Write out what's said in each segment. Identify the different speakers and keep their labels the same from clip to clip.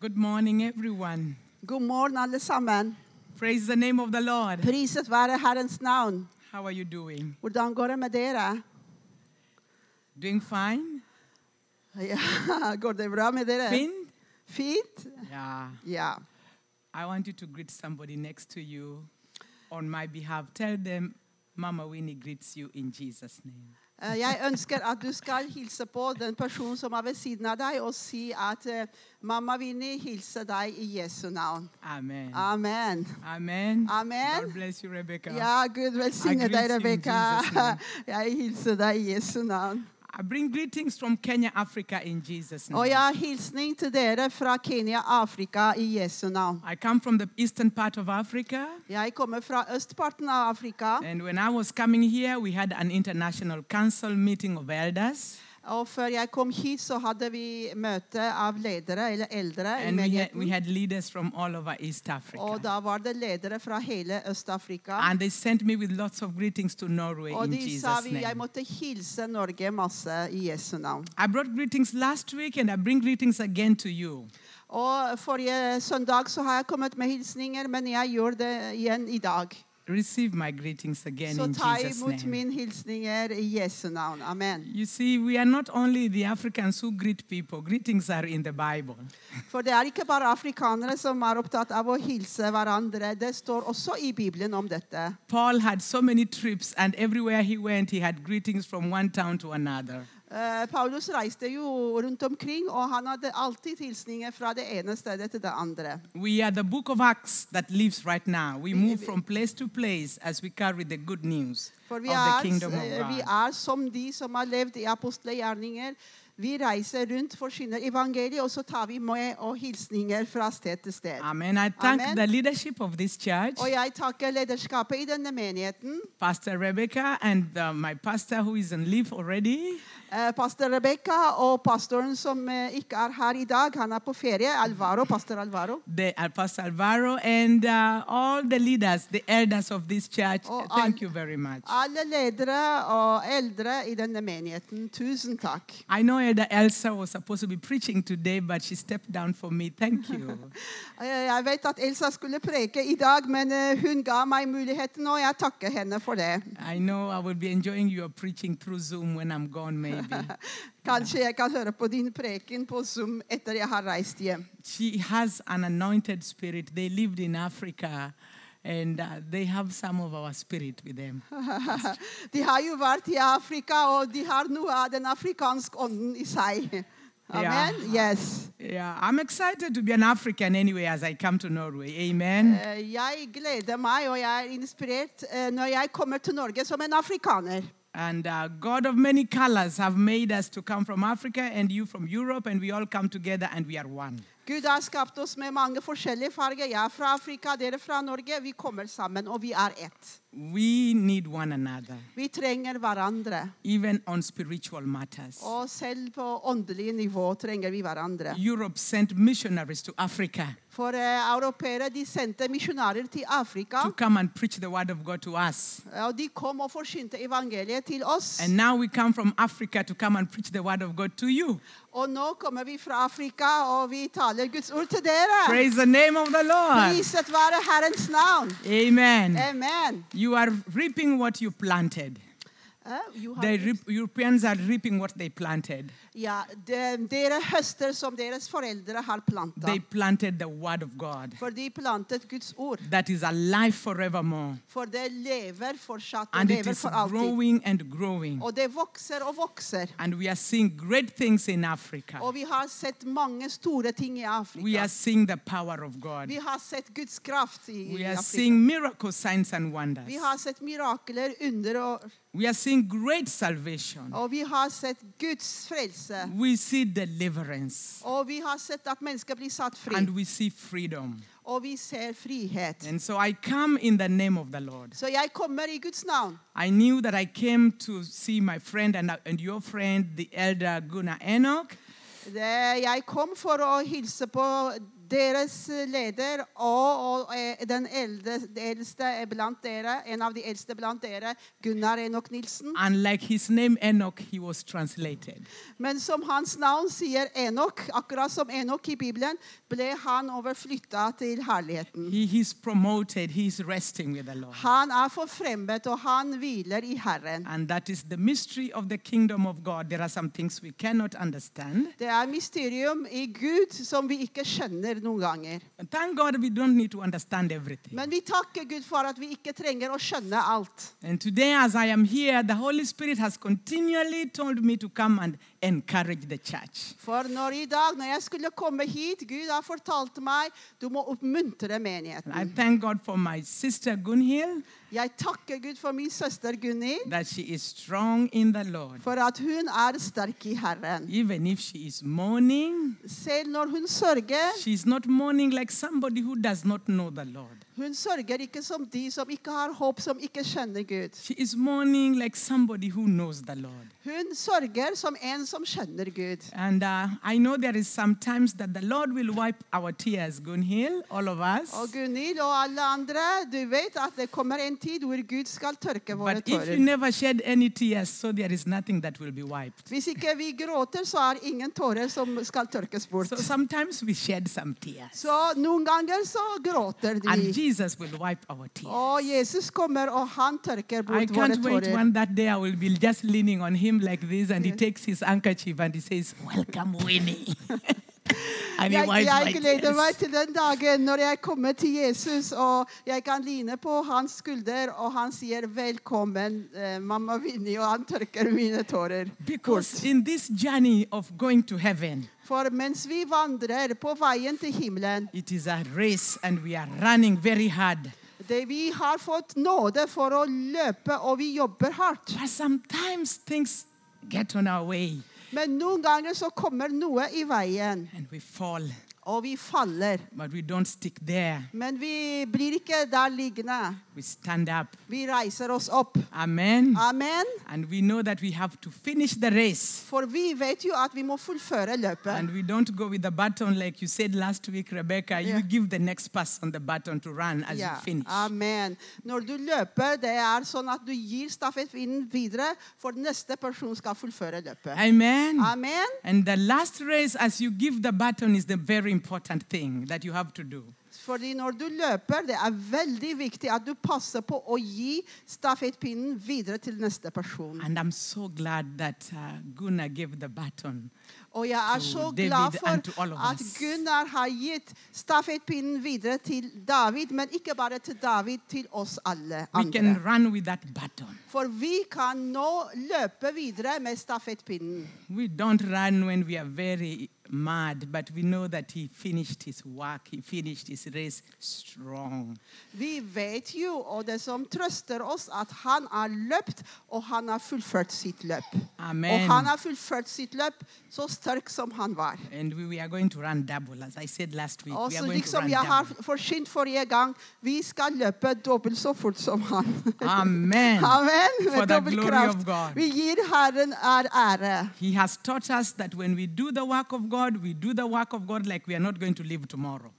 Speaker 1: Good morning, everyone.
Speaker 2: God morgen, alle sammen.
Speaker 1: Praise the name of the Lord.
Speaker 2: Priset være Herrens navn.
Speaker 1: How are you doing?
Speaker 2: Hvordan går det med dere?
Speaker 1: Doing fine?
Speaker 2: Ja, går det bra med dere?
Speaker 1: Fine?
Speaker 2: Fint?
Speaker 1: Yeah.
Speaker 2: Ja.
Speaker 1: I want you to greet somebody next to you on my behalf. Tell them Mama Winnie greets you in Jesus' name.
Speaker 2: Eh, Jeg ønsker at du skal hilse på den personen som er ved siden av deg, og si at eh, mamma Vinni hilser deg i Jesu navn.
Speaker 1: Amen.
Speaker 2: Amen.
Speaker 1: Amen.
Speaker 2: Ah. Amen.
Speaker 1: God bless you, Rebecca.
Speaker 2: Ja, Gud velsigne
Speaker 1: I greet
Speaker 2: deg,
Speaker 1: you in Jesus'
Speaker 2: Rebekka.
Speaker 1: name.
Speaker 2: Jeg hilser deg i Jesu navn.
Speaker 1: I bring greetings from Kenya, Africa in Jesus' name.
Speaker 2: Og jeg har hilsning til dere fra Kenya, Afrika, i Jesu navn.
Speaker 1: I come from the eastern part of Africa.
Speaker 2: Jeg kommer fra østparten av Afrika.
Speaker 1: And when I was coming here, we had an international council meeting of elders.
Speaker 2: Og før jeg kom hit, så hadde vi møte av ledere eller eldre i
Speaker 1: And we had, we
Speaker 2: menigheten.
Speaker 1: had leaders from all over East
Speaker 2: Og
Speaker 1: Africa.
Speaker 2: da var det ledere fra hele Øst-Afrika.
Speaker 1: And they sent me with lots of greetings to Norway
Speaker 2: Og
Speaker 1: in
Speaker 2: de sa
Speaker 1: Jesus'
Speaker 2: vi, jeg
Speaker 1: name.
Speaker 2: måtte hilse Norge masse i Jesu navn.
Speaker 1: I brought greetings last week and I bring greetings again to you.
Speaker 2: Og forrige søndag så har jeg kommet med hilsninger, men jeg gjør det igjen i dag.
Speaker 1: Receive my greetings again
Speaker 2: Så
Speaker 1: in
Speaker 2: ta
Speaker 1: Jesus'
Speaker 2: imot
Speaker 1: name.
Speaker 2: min hilsninger i Jesu navn. Amen.
Speaker 1: You see, we are not only the Africans who greet people, greetings are in the Bible.
Speaker 2: For det er ikke bare afrikanere som er opptatt av å hilse hverandre. Det står også i Bibelen om dette.
Speaker 1: Paul had so many trips, and everywhere he went, he had greetings from one town to another.
Speaker 2: Eh, Paulus reiste jo rundt omkring, og han hadde alltid hilsninger fra det ene stedet til det andre.
Speaker 1: We are the book of Acts that lives right now. We move from place to place as we carry the good news
Speaker 2: For
Speaker 1: of
Speaker 2: vi
Speaker 1: the
Speaker 2: er,
Speaker 1: kingdom of
Speaker 2: eh, vi
Speaker 1: God.
Speaker 2: er som de som har levd i apostelgjerninger. Vi reiser rundt, forsyner evangeliet, og så tar vi med og hilsninger fra sted til sted.
Speaker 1: Amen. I thank
Speaker 2: Amen.
Speaker 1: the
Speaker 2: Oh,
Speaker 1: leadership of this church,
Speaker 2: Og jeg takker lederskapet i denne menigheten.
Speaker 1: Pastor Rebecca, and uh, my pastor who is on leave already.
Speaker 2: Eh, Pastor Rebekka og pastoren som eh, ikke er her i dag, han er på ferie. Alvaro, pastor Alvaro.
Speaker 1: The, uh, Pastor Alvaro and uh, all the leaders, the elders of this church,
Speaker 2: Oh,
Speaker 1: thank
Speaker 2: and-
Speaker 1: you very much.
Speaker 2: Alle ledere og eldre i denne menigheten, tusen takk.
Speaker 1: I know Elder Elsa was supposed to be preaching today, but she stepped down for me. Thank you.
Speaker 2: Eh, Jeg vet at Elsa skulle preke i dag, men eh, hun ga meg muligheten, og jeg takker henne for det.
Speaker 1: I know I will be enjoying your preaching through Zoom when I'm gone, maybe.
Speaker 2: Kanskje jeg kan høre på din preken på Zoom etter jeg har reist hjem.
Speaker 1: she has an anointed spirit. They lived in Africa, and uh, they have some of our spirit with them.
Speaker 2: De har jo vært i Afrika, og de har noe av den afrikanske ånden i seg. Amen? Yes.
Speaker 1: Yeah, I'm excited to be an African anyway as I come to Norway. Amen.
Speaker 2: Eh, Jeg gleder meg, og jeg er inspirert eh, når jeg kommer til Norge som en afrikaner.
Speaker 1: And uh, God of many colors have made us to come from Africa and you from Europe, and we all come together and we are one.
Speaker 2: Gud har skapt oss med mange forskjellige farger. Jeg er fra Afrika, dere er fra Norge. Vi kommer sammen, og vi er ett.
Speaker 1: We need one another,
Speaker 2: Vi trenger hverandre.
Speaker 1: even on spiritual matters.
Speaker 2: Og selv på åndelig nivå trenger vi hverandre.
Speaker 1: Europe sent missionaries to Africa
Speaker 2: For eh, europeere de sendte misjonærer til Afrika.
Speaker 1: to come and preach the word of God to us.
Speaker 2: eh, Og de kom og forsynte evangeliet til oss.
Speaker 1: And now we come from Africa to come and preach the word of God to you.
Speaker 2: Og nå kommer vi fra Afrika, og vi taler Guds ord til dere.
Speaker 1: Praise the name of the Lord.
Speaker 2: Priset være Herrens navn.
Speaker 1: Amen.
Speaker 2: Amen.
Speaker 1: You are reaping what you planted.
Speaker 2: Eh, you have
Speaker 1: The
Speaker 2: it.
Speaker 1: re- Europeans are reaping what they planted.
Speaker 2: Ja, de, dere høster som deres foreldre har planta.
Speaker 1: They planted the word of God
Speaker 2: For de plantet Guds ord.
Speaker 1: that is alive forevermore.
Speaker 2: For det lever fortsatt og
Speaker 1: And it
Speaker 2: lever
Speaker 1: is
Speaker 2: for alltid.
Speaker 1: growing and growing.
Speaker 2: Og det vokser og vokser.
Speaker 1: And we are seeing great things in Africa.
Speaker 2: Og vi har sett mange store ting i
Speaker 1: We
Speaker 2: Afrika.
Speaker 1: are seeing the power of God.
Speaker 2: Vi har sett Guds kraft i
Speaker 1: We
Speaker 2: i
Speaker 1: are
Speaker 2: Afrika.
Speaker 1: seeing miracles, signs, and wonders.
Speaker 2: Vi har sett mirakler, under, og,
Speaker 1: We are seeing great salvation.
Speaker 2: og vi har sett Guds frelse.
Speaker 1: We see deliverance.
Speaker 2: Og vi har sett at mennesker blir satt fri.
Speaker 1: and we see freedom.
Speaker 2: Og vi ser frihet.
Speaker 1: And so I come in the name of the Lord.
Speaker 2: Så jeg kommer i Guds navn.
Speaker 1: I knew that I came to see my friend and, uh, and your friend, the elder Gunnar Enoch,
Speaker 2: Det, jeg kom for å hilse på Deres leder og, og eh, den elde, eldste er blant dere, en av de eldste blant dere, Gunnar Enok Nilsen.
Speaker 1: And like his name Enoch, he was translated.
Speaker 2: Men som hans navn sier Enok, akkurat som Enok i Bibelen, ble han overflytta til herligheten.
Speaker 1: He, he's promoted, he's resting with the Lord.
Speaker 2: Han er forfremmet, og han hviler i Herren.
Speaker 1: And that is the mystery of the kingdom of God. There are some things we cannot understand.
Speaker 2: Det er mysterium i Gud som vi ikke skjønner noen ganger.
Speaker 1: And thank God we don't need to understand everything.
Speaker 2: Men vi takker Gud for at vi ikke trenger å skjønne alt.
Speaker 1: And today, as I am here, the Holy Spirit has continually told me to come and encourage the church.
Speaker 2: For når i dag, når jeg skulle komme hit, Gud har fortalt meg du må oppmuntre
Speaker 1: And
Speaker 2: menigheten.
Speaker 1: I thank God for my sister Gunhild
Speaker 2: Jeg takker Gud for min søster Gunhild,
Speaker 1: that she is strong in the Lord.
Speaker 2: for at hun er sterk i Herren.
Speaker 1: Even if she is mourning,
Speaker 2: Selv når hun sørger,
Speaker 1: she's not mourning like somebody who does not know the Lord.
Speaker 2: hun sørger ikke som de som ikke har håp, som ikke skjønner Gud.
Speaker 1: She is mourning like somebody who knows the Lord.
Speaker 2: Hun sørger som en som skjønner Gud.
Speaker 1: And uh, I know there is sometimes that the Lord will wipe our tears, Gunhild, all of us.
Speaker 2: Og Gunhild og alle andre, du vet at det kommer en tid hvor Gud skal tørke våre
Speaker 1: But if you
Speaker 2: tårer.
Speaker 1: never shed any tears, so there is nothing that will be wiped.
Speaker 2: Hvis ikke vi gråter, så er ingen tårer som skal tørkes bort.
Speaker 1: So sometimes we shed some tears.
Speaker 2: Så noen ganger så gråter
Speaker 1: And
Speaker 2: de.
Speaker 1: Jesus will wipe our tears.
Speaker 2: Og Jesus kommer, og han tørker
Speaker 1: I
Speaker 2: bort våre
Speaker 1: can't wait
Speaker 2: tårer.
Speaker 1: when that day I will be just leaning on him like this and he takes his handkerchief and he says, Welcome, Winnie. and he
Speaker 2: Jeg,
Speaker 1: wipes my
Speaker 2: jeg gleder meg
Speaker 1: tears.
Speaker 2: til den dagen når jeg kommer til Jesus og jeg kan line på hans skulder, og han sier 'velkommen, eh, mamma Vinni', og han tørker mine tårer.
Speaker 1: Because in this journey of going to heaven,
Speaker 2: For mens vi vandrer på veien til himmelen
Speaker 1: it is a race and we are running very hard.
Speaker 2: Det vi har fått nåde for å løpe, og vi jobber hardt.
Speaker 1: But sometimes things get on our way
Speaker 2: Men noen ganger så kommer noe i veien,
Speaker 1: and we fall,
Speaker 2: og vi faller.
Speaker 1: but we don't stick there.
Speaker 2: Men vi blir ikke der liggende.
Speaker 1: We stand up.
Speaker 2: Vi reiser oss opp.
Speaker 1: Amen.
Speaker 2: Amen.
Speaker 1: And we know that we have to finish the race.
Speaker 2: For vi vet jo at vi må fullføre løpet.
Speaker 1: And we don't go with the baton like you said last week, Rebecca.
Speaker 2: Yeah. Um,
Speaker 1: You give the next person the baton to run as
Speaker 2: Ja,
Speaker 1: you finish.
Speaker 2: Amen. Når du løper, det er sånn at du gir stafettvinden videre, for neste person skal fullføre løpet.
Speaker 1: Amen.
Speaker 2: Amen.
Speaker 1: And the last race, as you give the baton, is the very important thing that you have to do.
Speaker 2: Fordi når du løper, det er veldig viktig at du passer på å gi stafettpinnen videre til neste person.
Speaker 1: And I'm so glad that uh, Gunnar gave the baton.
Speaker 2: Og jeg er
Speaker 1: to
Speaker 2: så
Speaker 1: David
Speaker 2: glad
Speaker 1: and to
Speaker 2: for
Speaker 1: all of
Speaker 2: at
Speaker 1: us.
Speaker 2: Gunnar har gitt stafettpinnen videre til David, men ikke bare til David, til oss alle
Speaker 1: We
Speaker 2: andre.
Speaker 1: can run with that baton.
Speaker 2: For vi kan nå løpe videre med stafettpinnen.
Speaker 1: We don't run when we are very mad, but we know that he finished his work, he finished his race strong.
Speaker 2: Vi vet jo, og det som trøster oss, at han har løpt, og han har fullført sitt løp.
Speaker 1: Amen.
Speaker 2: Og han har fullført sitt løp så sterk som han var.
Speaker 1: And we, we are going to run double, as I said last week.
Speaker 2: Og
Speaker 1: we are
Speaker 2: så
Speaker 1: going
Speaker 2: liksom
Speaker 1: to
Speaker 2: jeg
Speaker 1: run
Speaker 2: har
Speaker 1: double.
Speaker 2: forsynt forrige gang, vi skal løpe dobbelt så fort som han.
Speaker 1: Amen.
Speaker 2: Amen.
Speaker 1: For
Speaker 2: Med
Speaker 1: the
Speaker 2: dobbel
Speaker 1: glory
Speaker 2: kraft.
Speaker 1: of God.
Speaker 2: Vi gir Herren er ære.
Speaker 1: He has taught us that when we do the work of God, we do the work of God like we are not going to live tomorrow.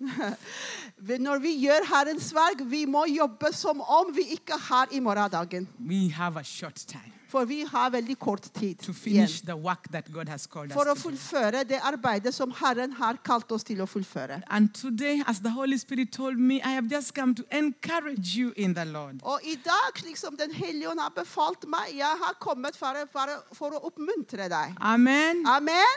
Speaker 2: Vi- Når vi gjør Herrens verk, vi må jobbe som om vi ikke har i morgendagen.
Speaker 1: we have a short time
Speaker 2: For vi har veldig kort tid
Speaker 1: to
Speaker 2: igjen.
Speaker 1: finish the work that God has called
Speaker 2: For å
Speaker 1: us to do.
Speaker 2: fullføre det arbeidet som Herren har kalt oss til å fullføre.
Speaker 1: And today, as the Holy Spirit told me, I have just come to encourage you in the Lord.
Speaker 2: Og i dag, slik som Den hellige ånd har befalt meg, jeg har kommet for, å- for, å- for å oppmuntre deg.
Speaker 1: Amen.
Speaker 2: Amen.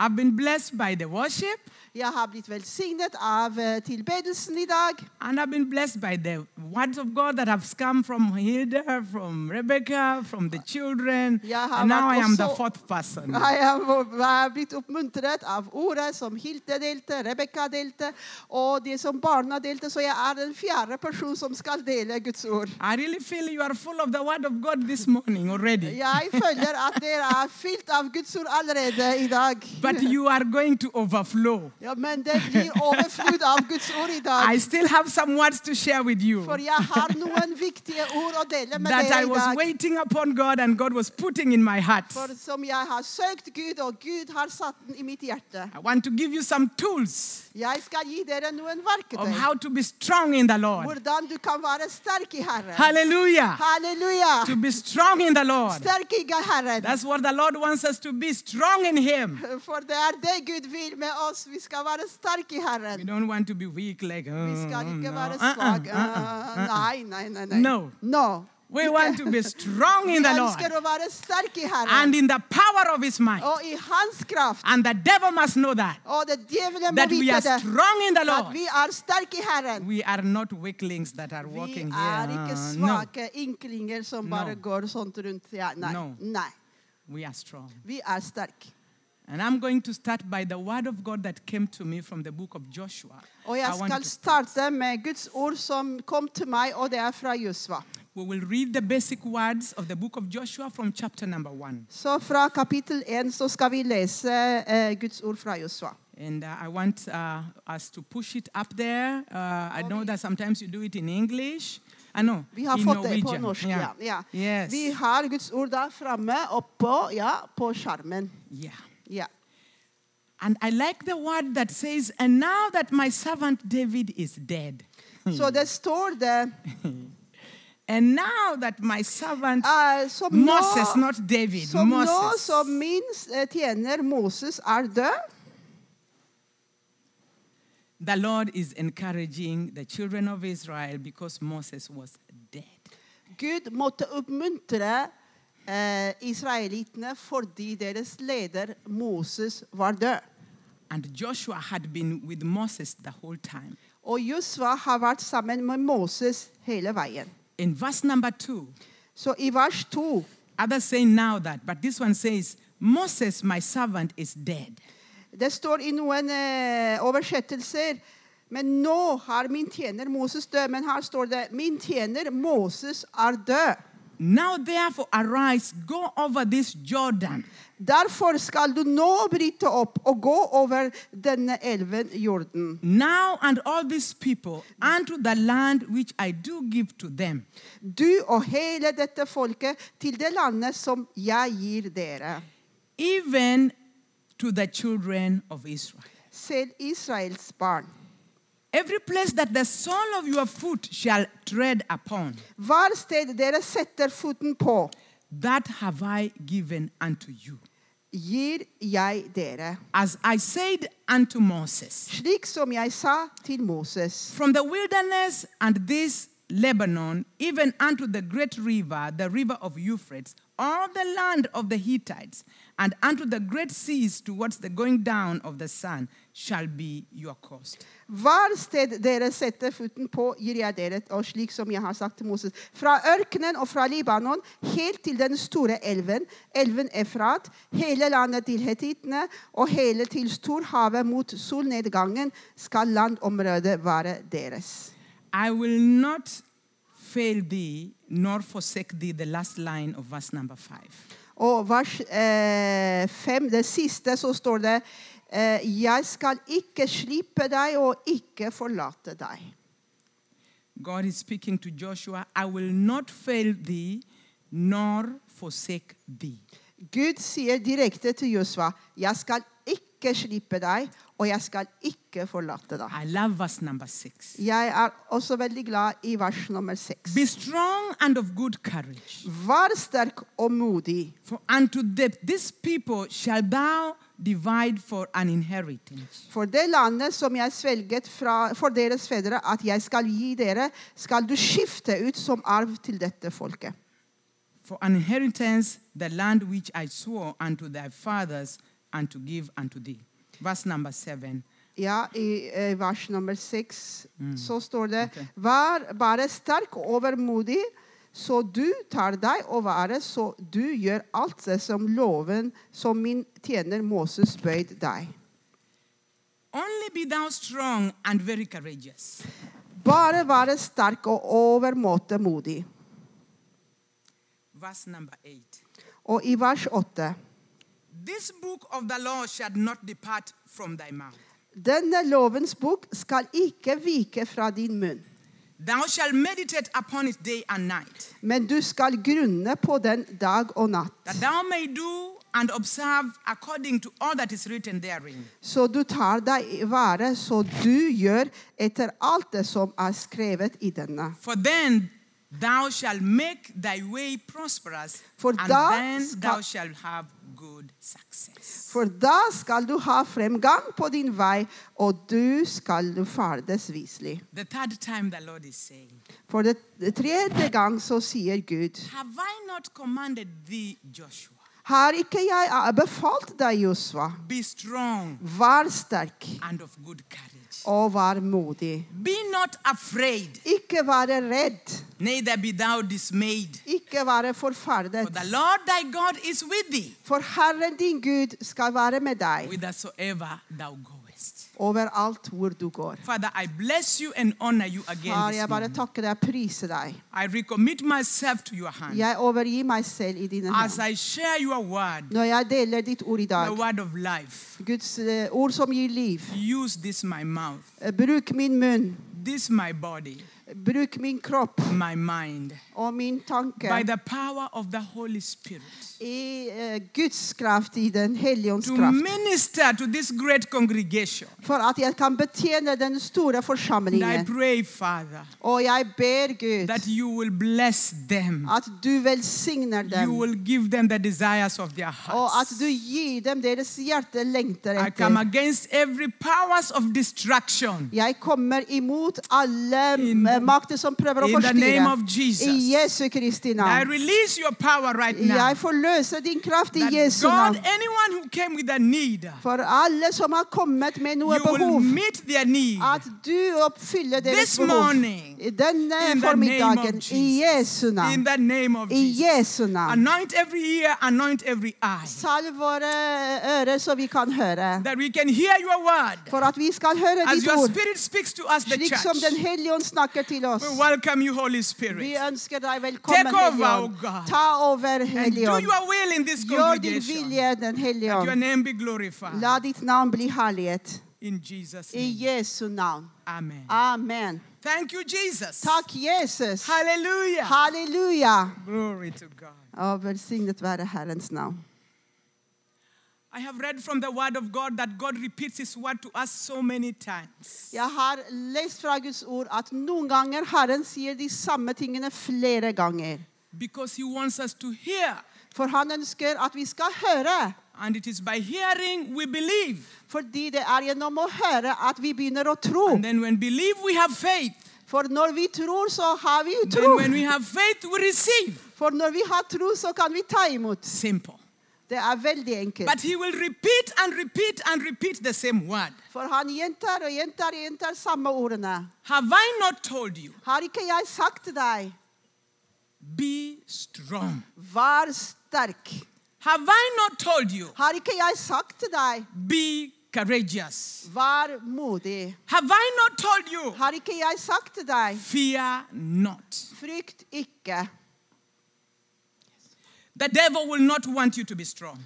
Speaker 1: I've been blessed by the worship,
Speaker 2: Jeg har blitt velsignet av eh, tilbedelsen i dag.
Speaker 1: and I've been blessed by the words of God that have come from Hilda, from Rebecca, from the children.
Speaker 2: Yeah,
Speaker 1: and now I
Speaker 2: but
Speaker 1: am the
Speaker 2: also-
Speaker 1: fourth person.
Speaker 2: Jeg har jeg har blitt oppmuntret av ordet som Hilde delte, Rebekka delte, og det som barna delte. Så jeg er den fjerde person som skal dele Guds ord.
Speaker 1: I really feel you are full of the word of God this morning already.
Speaker 2: Jeg føler at dere er fylt av Guds ord allerede i dag.
Speaker 1: But you are going to overflow.
Speaker 2: Ja, men det blir overflod av Guds ord i dag.
Speaker 1: I still have some words to share with you
Speaker 2: For jeg har noen viktige ord å dele med
Speaker 1: that
Speaker 2: dere
Speaker 1: I
Speaker 2: i
Speaker 1: was
Speaker 2: dag.
Speaker 1: waiting upon God and God was putting in my heart.
Speaker 2: For som jeg har søkt Gud, og Gud har satt den i mitt hjerte.
Speaker 1: I want to give you some tools
Speaker 2: Jeg skal gi dere noen
Speaker 1: of
Speaker 2: verktøy.
Speaker 1: how to be strong in the Lord.
Speaker 2: Hvordan du kan være sterk i Herren.
Speaker 1: Hallelujah. To
Speaker 2: Halleluja!
Speaker 1: be strong in the Lord.
Speaker 2: Sterk i Herren.
Speaker 1: That's what the Lord wants us to be strong in Him.
Speaker 2: For det er det Gud vil med oss. Vi skal være sterke i
Speaker 1: We
Speaker 2: Herren.
Speaker 1: don't want to be weak like. "Oh,
Speaker 2: Vi skal
Speaker 1: no,
Speaker 2: ikke være
Speaker 1: uh-uh,
Speaker 2: svake.
Speaker 1: uh-uh, uh-uh."
Speaker 2: Nei, nei, nei. nei.
Speaker 1: No.
Speaker 2: No.
Speaker 1: We want to be strong
Speaker 2: Vi
Speaker 1: in the Lord
Speaker 2: ønsker å være sterke i Herren
Speaker 1: and in the power of His might.
Speaker 2: og i Hans kraft.
Speaker 1: And the devil must know that
Speaker 2: Og det djevelen må
Speaker 1: that we
Speaker 2: vite
Speaker 1: are
Speaker 2: det.
Speaker 1: strong in the
Speaker 2: At
Speaker 1: Lord.
Speaker 2: vi er sterke i Herren.
Speaker 1: We are not weaklings that are
Speaker 2: Vi
Speaker 1: walking here.
Speaker 2: er ikke
Speaker 1: Uh, no,
Speaker 2: svake ynklinger som bare
Speaker 1: No.
Speaker 2: går sånt rundt. Ja, nei.
Speaker 1: No.
Speaker 2: nei.
Speaker 1: we are strong.
Speaker 2: Vi er sterke.
Speaker 1: And I'm going to start by the word of God that came to me from the book of Joshua.
Speaker 2: Og
Speaker 1: I
Speaker 2: jeg
Speaker 1: want
Speaker 2: skal
Speaker 1: to-
Speaker 2: starte med Guds ord som kom til meg, og det er fra Josva.
Speaker 1: we will read the basic words of the book of Joshua from chapter number one.
Speaker 2: Så fra kapittel 1 så skal vi lese eh, Guds ord fra Josva.
Speaker 1: And uh, I want uh, us to push it up there. Uh, I know that sometimes you do it in English. I know.
Speaker 2: Vi har
Speaker 1: in
Speaker 2: fått det på
Speaker 1: Norwegian.
Speaker 2: norsk. Ja. ja.
Speaker 1: Yes.
Speaker 2: Vi har Guds ord der framme oppå, ja, på skjermen.
Speaker 1: Yeah.
Speaker 2: Ja.
Speaker 1: And I like the word that says, and now that my servant David is dead, Hmm.
Speaker 2: Så det står det
Speaker 1: and now that my servant
Speaker 2: eh, som nå,
Speaker 1: Moses, not David,
Speaker 2: som, nå
Speaker 1: Moses.
Speaker 2: som min eh, tjener Moses er død,
Speaker 1: the Lord is encouraging the children of Israel because Moses was dead.
Speaker 2: Gud måtte oppmuntre eh, israelittene fordi deres leder Moses var død.
Speaker 1: And Joshua had been with Moses the whole time.
Speaker 2: Og Josva har vært sammen med Moses hele veien.
Speaker 1: In verse number two,
Speaker 2: Så i vers 2
Speaker 1: Others say now that, but this one says, Moses, my servant, is dead.
Speaker 2: Det står i noen eh, oversettelser Men nå har min tjener Moses død. Men her står det Min tjener Moses er død.
Speaker 1: Now therefore arise, go over this Jordan,
Speaker 2: Derfor skal du nå bryte opp og gå over denne elven Jorden.
Speaker 1: now and all these people, unto the land which I do give to them,
Speaker 2: Du og hele dette folket til det landet som jeg gir dere.
Speaker 1: even to the children of Israel.
Speaker 2: Selv Israels barn.
Speaker 1: Every place that the sole of your foot shall tread upon,
Speaker 2: Hver sted dere setter foten på,
Speaker 1: that have I given unto you.
Speaker 2: gir jeg dere.
Speaker 1: As I said unto Moses,
Speaker 2: Slik som jeg sa til Moses.
Speaker 1: from the wilderness and this Lebanon, even unto the great river, the river of Euphrates, all the land of the Hittites, and unto the great seas towards the going down of the sun shall be your coast.
Speaker 2: Hver sted dere setter foten på, gir jeg dere, og slik som jeg har sagt til Moses. Fra ørkenen og fra Libanon, helt til den store elven, elven Efrat, hele landet til hetittene, og hele til storhavet mot solnedgangen, skal landområdet være deres.
Speaker 1: I will not fail thee nor forsake thee, the last line of verse number five.
Speaker 2: Og vers eh, fem, det siste, så står det eh, Jeg skal ikke slippe deg og ikke forlate deg.
Speaker 1: God is speaking to Joshua I will not fail thee nor forsake thee.
Speaker 2: Gud sier direkte til Josva, jeg skal ikke slippe deg, og jeg skal ikke forlate deg.
Speaker 1: I love verse number six.
Speaker 2: Jeg er også veldig glad i vers nummer seks.
Speaker 1: Be strong and of good courage.
Speaker 2: Vær sterk og modig,
Speaker 1: For unto the, this people shall thou divide for an inheritance.
Speaker 2: for det landet som jeg svelget fra, for deres fedre at jeg skal gi dere, skal du skifte ut som arv til dette folket.
Speaker 1: For an inheritance, the land which I swore unto thy fathers, and to give unto thee. Verse number seven.
Speaker 2: Ja, i eh, vers nummer seks så står det
Speaker 1: Ok.
Speaker 2: Vær bare sterk og overmodig, så du tar deg og været, så du gjør alt det som loven som min tjener Moses bøyd deg.
Speaker 1: Only be thou strong and very courageous,
Speaker 2: Bare være sterk og overmåte modig.
Speaker 1: verse number eight.
Speaker 2: Og i vers åtte
Speaker 1: Th- This book of the law shall not depart from thy mouth.
Speaker 2: Denne lovens bok skal ikke vike fra din munn,
Speaker 1: Thou shalt meditate upon it day and night,
Speaker 2: men du skal grunne på den dag og natt,
Speaker 1: that thou may do and observe according to all that is written therein.
Speaker 2: så du tar deg vare så du gjør etter alt det som er skrevet i denne.
Speaker 1: For then thou shalt make thy way prosperous,
Speaker 2: For
Speaker 1: and
Speaker 2: thou
Speaker 1: then
Speaker 2: ska-
Speaker 1: thou shalt have good success.
Speaker 2: For da skal du ha fremgang på din vei, og du skal du ferdes viselig.
Speaker 1: The third time the Lord is saying,
Speaker 2: For det det tredje gang så sier Gud,
Speaker 1: Have I not commanded thee, Joshua?
Speaker 2: har ikke jeg befalt deg, Josva?
Speaker 1: Be strong
Speaker 2: Vær sterk
Speaker 1: and of good courage.
Speaker 2: og vær modig.
Speaker 1: Be not afraid,
Speaker 2: Ikke være redd.
Speaker 1: neither be thou dismayed.
Speaker 2: Ikke være
Speaker 1: For the
Speaker 2: forferdet.
Speaker 1: Lord thy God is with thee,
Speaker 2: For Herren din Gud skal være med deg
Speaker 1: whithersoever thou goest.
Speaker 2: overalt hvor du går.
Speaker 1: Father, I bless you and honor you again.
Speaker 2: Far,
Speaker 1: This
Speaker 2: jeg bare
Speaker 1: morning.
Speaker 2: takker deg, priser deg.
Speaker 1: I recommit myself to your hand
Speaker 2: Jeg overgir meg selv i dine
Speaker 1: as
Speaker 2: hender.
Speaker 1: I share your word,
Speaker 2: Når jeg deler ditt ord i
Speaker 1: the
Speaker 2: dag,
Speaker 1: word of life.
Speaker 2: Guds eh, ord som gir liv,
Speaker 1: Use this my mouth,
Speaker 2: eh, bruk min munn,
Speaker 1: this my body,
Speaker 2: bruk min kropp
Speaker 1: my mind,
Speaker 2: og min tanke
Speaker 1: by the power of the Holy Spirit,
Speaker 2: i eh, Guds kraft, i Den hellige ånds
Speaker 1: to
Speaker 2: kraft,
Speaker 1: minister to this great congregation.
Speaker 2: for at jeg kan betjene den store
Speaker 1: And I
Speaker 2: forsamlingen.
Speaker 1: pray, Father,
Speaker 2: Og jeg ber, Gud,
Speaker 1: that you will bless them.
Speaker 2: at du velsigner
Speaker 1: You
Speaker 2: dem.
Speaker 1: will give them the desires of their
Speaker 2: Og at
Speaker 1: hearts.
Speaker 2: du gir dem deres hjerte lengter
Speaker 1: I come
Speaker 2: etter.
Speaker 1: against every powers of destruction.
Speaker 2: Jeg kommer imot alle
Speaker 1: In-
Speaker 2: m- makter som prøver å
Speaker 1: in the name
Speaker 2: forstyrre.
Speaker 1: of Jesus.
Speaker 2: I Jesu Kristi
Speaker 1: I
Speaker 2: navn.
Speaker 1: release your power right now.
Speaker 2: Jeg forløser din kraft i
Speaker 1: That
Speaker 2: Jesu
Speaker 1: God,
Speaker 2: navn.
Speaker 1: anyone who came with a need, you
Speaker 2: For alle som har kommet med noe
Speaker 1: will
Speaker 2: behov,
Speaker 1: meet their need.
Speaker 2: at du oppfyller deres
Speaker 1: This
Speaker 2: behov.
Speaker 1: morning,
Speaker 2: I Denne
Speaker 1: In the name of
Speaker 2: formiddagen, i
Speaker 1: Jesus.
Speaker 2: Jesu
Speaker 1: In
Speaker 2: navn.
Speaker 1: the name of
Speaker 2: I
Speaker 1: Jesus.
Speaker 2: Jesu navn.
Speaker 1: Anoint every ear, anoint every eye.
Speaker 2: Salv våre ører så vi kan høre.
Speaker 1: That we can hear your word.
Speaker 2: For at vi skal høre
Speaker 1: As
Speaker 2: ditt
Speaker 1: your
Speaker 2: ord,
Speaker 1: spirit speaks to us, the
Speaker 2: slik som Den
Speaker 1: church.
Speaker 2: hellige ånd snakker til oss.
Speaker 1: We welcome you, Holy
Speaker 2: Vi
Speaker 1: Spirit.
Speaker 2: ønsker deg velkommen,
Speaker 1: Take over,
Speaker 2: Hellige
Speaker 1: oh God.
Speaker 2: Ånd. Ta over,
Speaker 1: And do
Speaker 2: Hellige Ånd.
Speaker 1: your will in this
Speaker 2: Gjør din
Speaker 1: congregation.
Speaker 2: vilje, Den hellige
Speaker 1: Your
Speaker 2: ånd.
Speaker 1: name be glorified.
Speaker 2: La Eh, ditt navn bli herlighet.
Speaker 1: In Jesus'
Speaker 2: I
Speaker 1: name.
Speaker 2: Jesu navn.
Speaker 1: Amen.
Speaker 2: ah. Amen.
Speaker 1: Thank you, Jesus.
Speaker 2: Takk, Jesus.
Speaker 1: Hallelujah.
Speaker 2: Halleluja.
Speaker 1: Glory to God.
Speaker 2: Og velsignet være Herrens navn.
Speaker 1: I have read from the Word of God that God repeats His Word to us so many times.
Speaker 2: Jeg har lest fra Guds ord at noen ganger Herren sier de samme tingene flere ganger.
Speaker 1: Because He wants us to hear.
Speaker 2: For han ønsker at vi skal høre.
Speaker 1: And it is by hearing we believe.
Speaker 2: Fordi det er gjennom å høre at vi begynner å tro.
Speaker 1: And then when believe, we have faith.
Speaker 2: For når vi tror, så har vi jo
Speaker 1: Then
Speaker 2: tro.
Speaker 1: when we have faith, we receive.
Speaker 2: For når vi har tro, så kan vi ta imot.
Speaker 1: Simple.
Speaker 2: Det er veldig enkelt.
Speaker 1: But He will repeat and repeat and repeat the same word.
Speaker 2: For han gjentar og gjentar og gjentar samme ordene.
Speaker 1: Have I not told you?
Speaker 2: Har ikke jeg sagt til deg,
Speaker 1: Be strong.
Speaker 2: vær sterk?
Speaker 1: Have I not told you?
Speaker 2: Har ikke jeg sagt til deg,
Speaker 1: Be courageous.
Speaker 2: vær modig?
Speaker 1: Have I not told you?
Speaker 2: Har ikke jeg sagt til deg,
Speaker 1: Fear not.
Speaker 2: frykt ikke?
Speaker 1: The devil will not want you to be strong.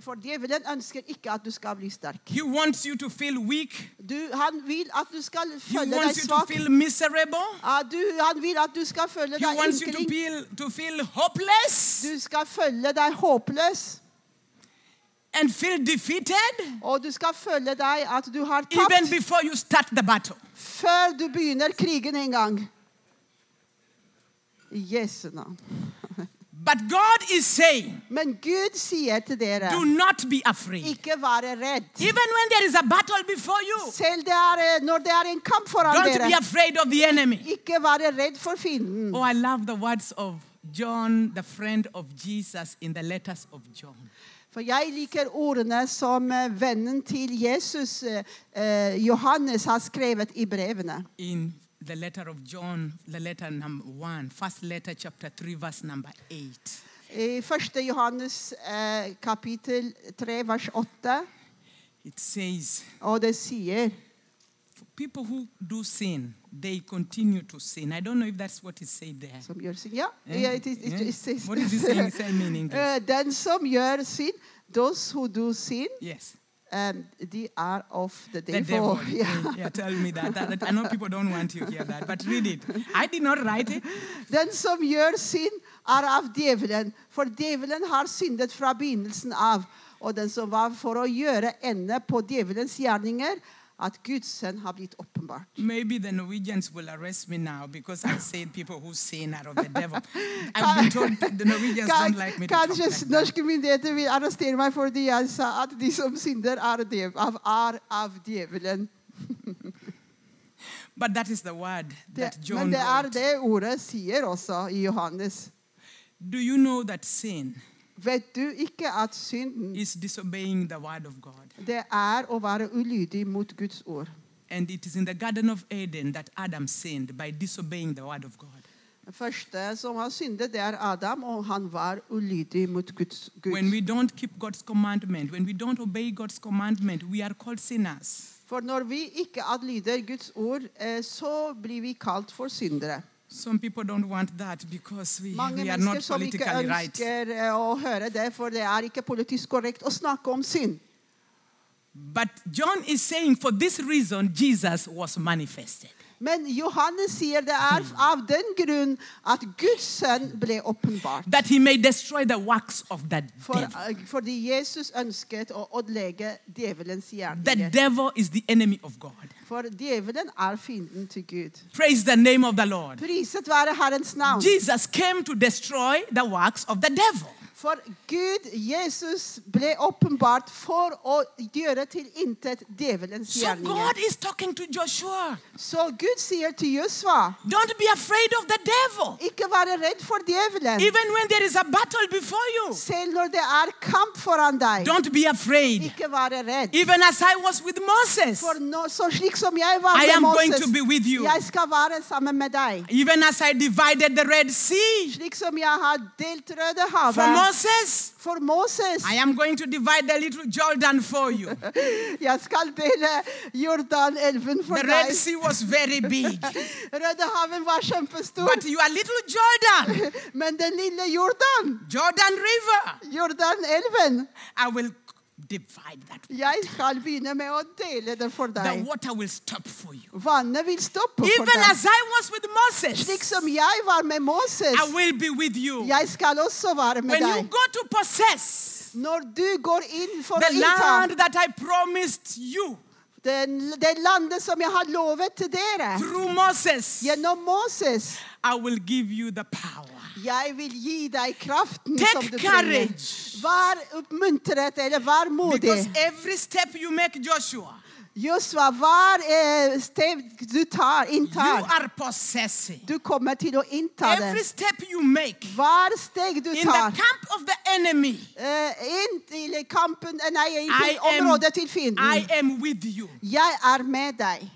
Speaker 2: For djevelen ønsker ikke at du skal bli sterk.
Speaker 1: He wants you to feel weak.
Speaker 2: Du, han vil at du skal
Speaker 1: He
Speaker 2: føle deg
Speaker 1: wants you to
Speaker 2: svak.
Speaker 1: feel miserable.
Speaker 2: Ja, du, han vil at du skal føle
Speaker 1: He
Speaker 2: deg
Speaker 1: wants you to
Speaker 2: enkling.
Speaker 1: feel, to feel hopeless
Speaker 2: Du skal føle deg håpløs.
Speaker 1: and feel defeated
Speaker 2: Og du skal føle deg at du har
Speaker 1: even
Speaker 2: tapt
Speaker 1: before you start the battle.
Speaker 2: før du begynner krigen en gang. I Jesu navn.
Speaker 1: But God is saying,
Speaker 2: Men Gud sier til dere
Speaker 1: do not be afraid.
Speaker 2: Ikke være redd.
Speaker 1: Even when there is a battle before you,
Speaker 2: Selv det er, eh, når det er en kamp foran
Speaker 1: don't be
Speaker 2: dere,
Speaker 1: afraid of the enemy.
Speaker 2: ikke være redd for fienden.
Speaker 1: Oh, I love the words of John, the friend of Jesus, in the letters of John.
Speaker 2: For jeg liker ordene som eh, vennen til Jesus, eh, eh, Johannes, har skrevet i brevene.
Speaker 1: in the letter of John, the letter number one, first letter, chapter 3, verse number 8.
Speaker 2: I 1. Johannes eh, kapittel 3, vers 8,
Speaker 1: It says,
Speaker 2: og det sier
Speaker 1: people who do sin, they continue to sin. I don't know if that's what is said there.
Speaker 2: Som gjør synd. Ja,
Speaker 1: Eh?
Speaker 2: yeah, it is, it,
Speaker 1: Yeah.
Speaker 2: it says-
Speaker 1: What is he saying? Say me in English.
Speaker 2: Eh, den som gjør synd, those who do sin,
Speaker 1: yes.
Speaker 2: um, de are of the
Speaker 1: The
Speaker 2: devil.
Speaker 1: devil.
Speaker 2: Yeah.
Speaker 1: Eh, yeah, tell me that. That- that- I know people don't want you to hear that, but read it. I did not write it.
Speaker 2: Den som gjør synd, er av djevelen, for djevelen har syndet fra begynnelsen av. Og den som var for å gjøre ende på djevelens gjerninger, at Guds sønn har blitt åpenbart.
Speaker 1: Maybe the Norwegians will arrest me now because I said people who sin are of the devil. I've been told that the Norwegians
Speaker 2: Kan-
Speaker 1: don't like me to talk
Speaker 2: Kanskje
Speaker 1: like that.
Speaker 2: norske myndigheter vil arrestere meg fordi jeg sa at de som synder, er, dev, av, er av djevelen.
Speaker 1: But that is the word
Speaker 2: Det,
Speaker 1: that
Speaker 2: men
Speaker 1: John
Speaker 2: det er
Speaker 1: wrote.
Speaker 2: det ordet sier også i Johannes.
Speaker 1: Do you know that sin
Speaker 2: Vet du ikke at synden,
Speaker 1: is disobeying the word of God?
Speaker 2: det er å være ulydig mot Guds ord?
Speaker 1: And it is in the Garden of Eden that Adam sinned by disobeying the word of God.
Speaker 2: Den første som har syndet, det er Adam, og han var ulydig mot Guds Gud.
Speaker 1: When we don't keep God's commandment, when we don't obey God's commandment, we are called sinners.
Speaker 2: For når vi ikke adlyder Guds ord, eh, så blir vi kalt for syndere.
Speaker 1: Some people don't want that because we,
Speaker 2: Mange
Speaker 1: we are
Speaker 2: mennesker
Speaker 1: not
Speaker 2: som ikke
Speaker 1: politically right.
Speaker 2: ønsker eh, å høre det, for det er ikke politisk korrekt å snakke om synd.
Speaker 1: But John is saying for this reason Jesus was manifested.
Speaker 2: Men Johannes sier det er av den grunn at Guds sønn ble åpenbart.
Speaker 1: That he may destroy the works of the
Speaker 2: For,
Speaker 1: devil.
Speaker 2: eh, fordi Jesus ønsket å ødelegge djevelens
Speaker 1: The
Speaker 2: gjerninger.
Speaker 1: devil is the enemy of God.
Speaker 2: For djevelen er fienden til Gud.
Speaker 1: Praise the name of the Lord.
Speaker 2: Priset være Herrens navn.
Speaker 1: Jesus came to destroy the works of the devil.
Speaker 2: For Gud, Jesus, ble åpenbart for å gjøre til intet djevelens
Speaker 1: So God
Speaker 2: gjerninger.
Speaker 1: is talking to Joshua.
Speaker 2: Så Gud sier til Josva,
Speaker 1: Don't be afraid of the devil.
Speaker 2: ikke være redd for djevelen.
Speaker 1: Even when there is a battle before you,
Speaker 2: Selv når det er kamp foran deg,
Speaker 1: don't be afraid.
Speaker 2: ikke være redd.
Speaker 1: Even as I was with Moses,
Speaker 2: For nå, så slik som jeg var
Speaker 1: I
Speaker 2: med
Speaker 1: am going to be
Speaker 2: Moses,
Speaker 1: with you.
Speaker 2: jeg skal være sammen med deg.
Speaker 1: Even as I divided the Red Sea
Speaker 2: Slik som jeg har delt Røde
Speaker 1: for
Speaker 2: havet
Speaker 1: Moses,
Speaker 2: for Moses.
Speaker 1: I am going to divide the little Jordan for you.
Speaker 2: Jeg skal dele Jordanelven
Speaker 1: The
Speaker 2: for
Speaker 1: Red
Speaker 2: deg.
Speaker 1: Sea was very big,
Speaker 2: Røde haven var kjempestor.
Speaker 1: but you are little Jordan,
Speaker 2: Men den lille Jordan,
Speaker 1: Jordan River.
Speaker 2: Jordanelven,
Speaker 1: I will divide that.
Speaker 2: jeg skal begynne med å dele det for
Speaker 1: The
Speaker 2: deg.
Speaker 1: water will stop for you.
Speaker 2: Vannet vil stoppe for
Speaker 1: Even
Speaker 2: deg.
Speaker 1: as I was with
Speaker 2: Slik
Speaker 1: Moses,
Speaker 2: som jeg var med
Speaker 1: I
Speaker 2: Moses,
Speaker 1: will be with you.
Speaker 2: jeg skal også være med
Speaker 1: When you
Speaker 2: deg.
Speaker 1: go to possess
Speaker 2: Når du går inn for å
Speaker 1: the land
Speaker 2: innta
Speaker 1: that I promised you
Speaker 2: den- det landet som jeg har lovet til dere,
Speaker 1: through Moses,
Speaker 2: gjennom Moses,
Speaker 1: I will give you the power.
Speaker 2: jeg vil gi deg kraften
Speaker 1: Take
Speaker 2: som du trenger.
Speaker 1: courage.
Speaker 2: Vær oppmuntret, eller vær
Speaker 1: Because
Speaker 2: modig.
Speaker 1: every step you make, Joshua,
Speaker 2: Josua, hver eh, steg du tar,
Speaker 1: you
Speaker 2: inntar,
Speaker 1: are possessing.
Speaker 2: Du kommer til å innta det.
Speaker 1: Every step you make
Speaker 2: Hver steg du
Speaker 1: in the
Speaker 2: tar
Speaker 1: camp of the enemy,
Speaker 2: eh, inn til kampen eh, Nei, inn
Speaker 1: I
Speaker 2: til
Speaker 1: am-
Speaker 2: området til
Speaker 1: I
Speaker 2: fienden.
Speaker 1: am with you.
Speaker 2: Jeg er med deg.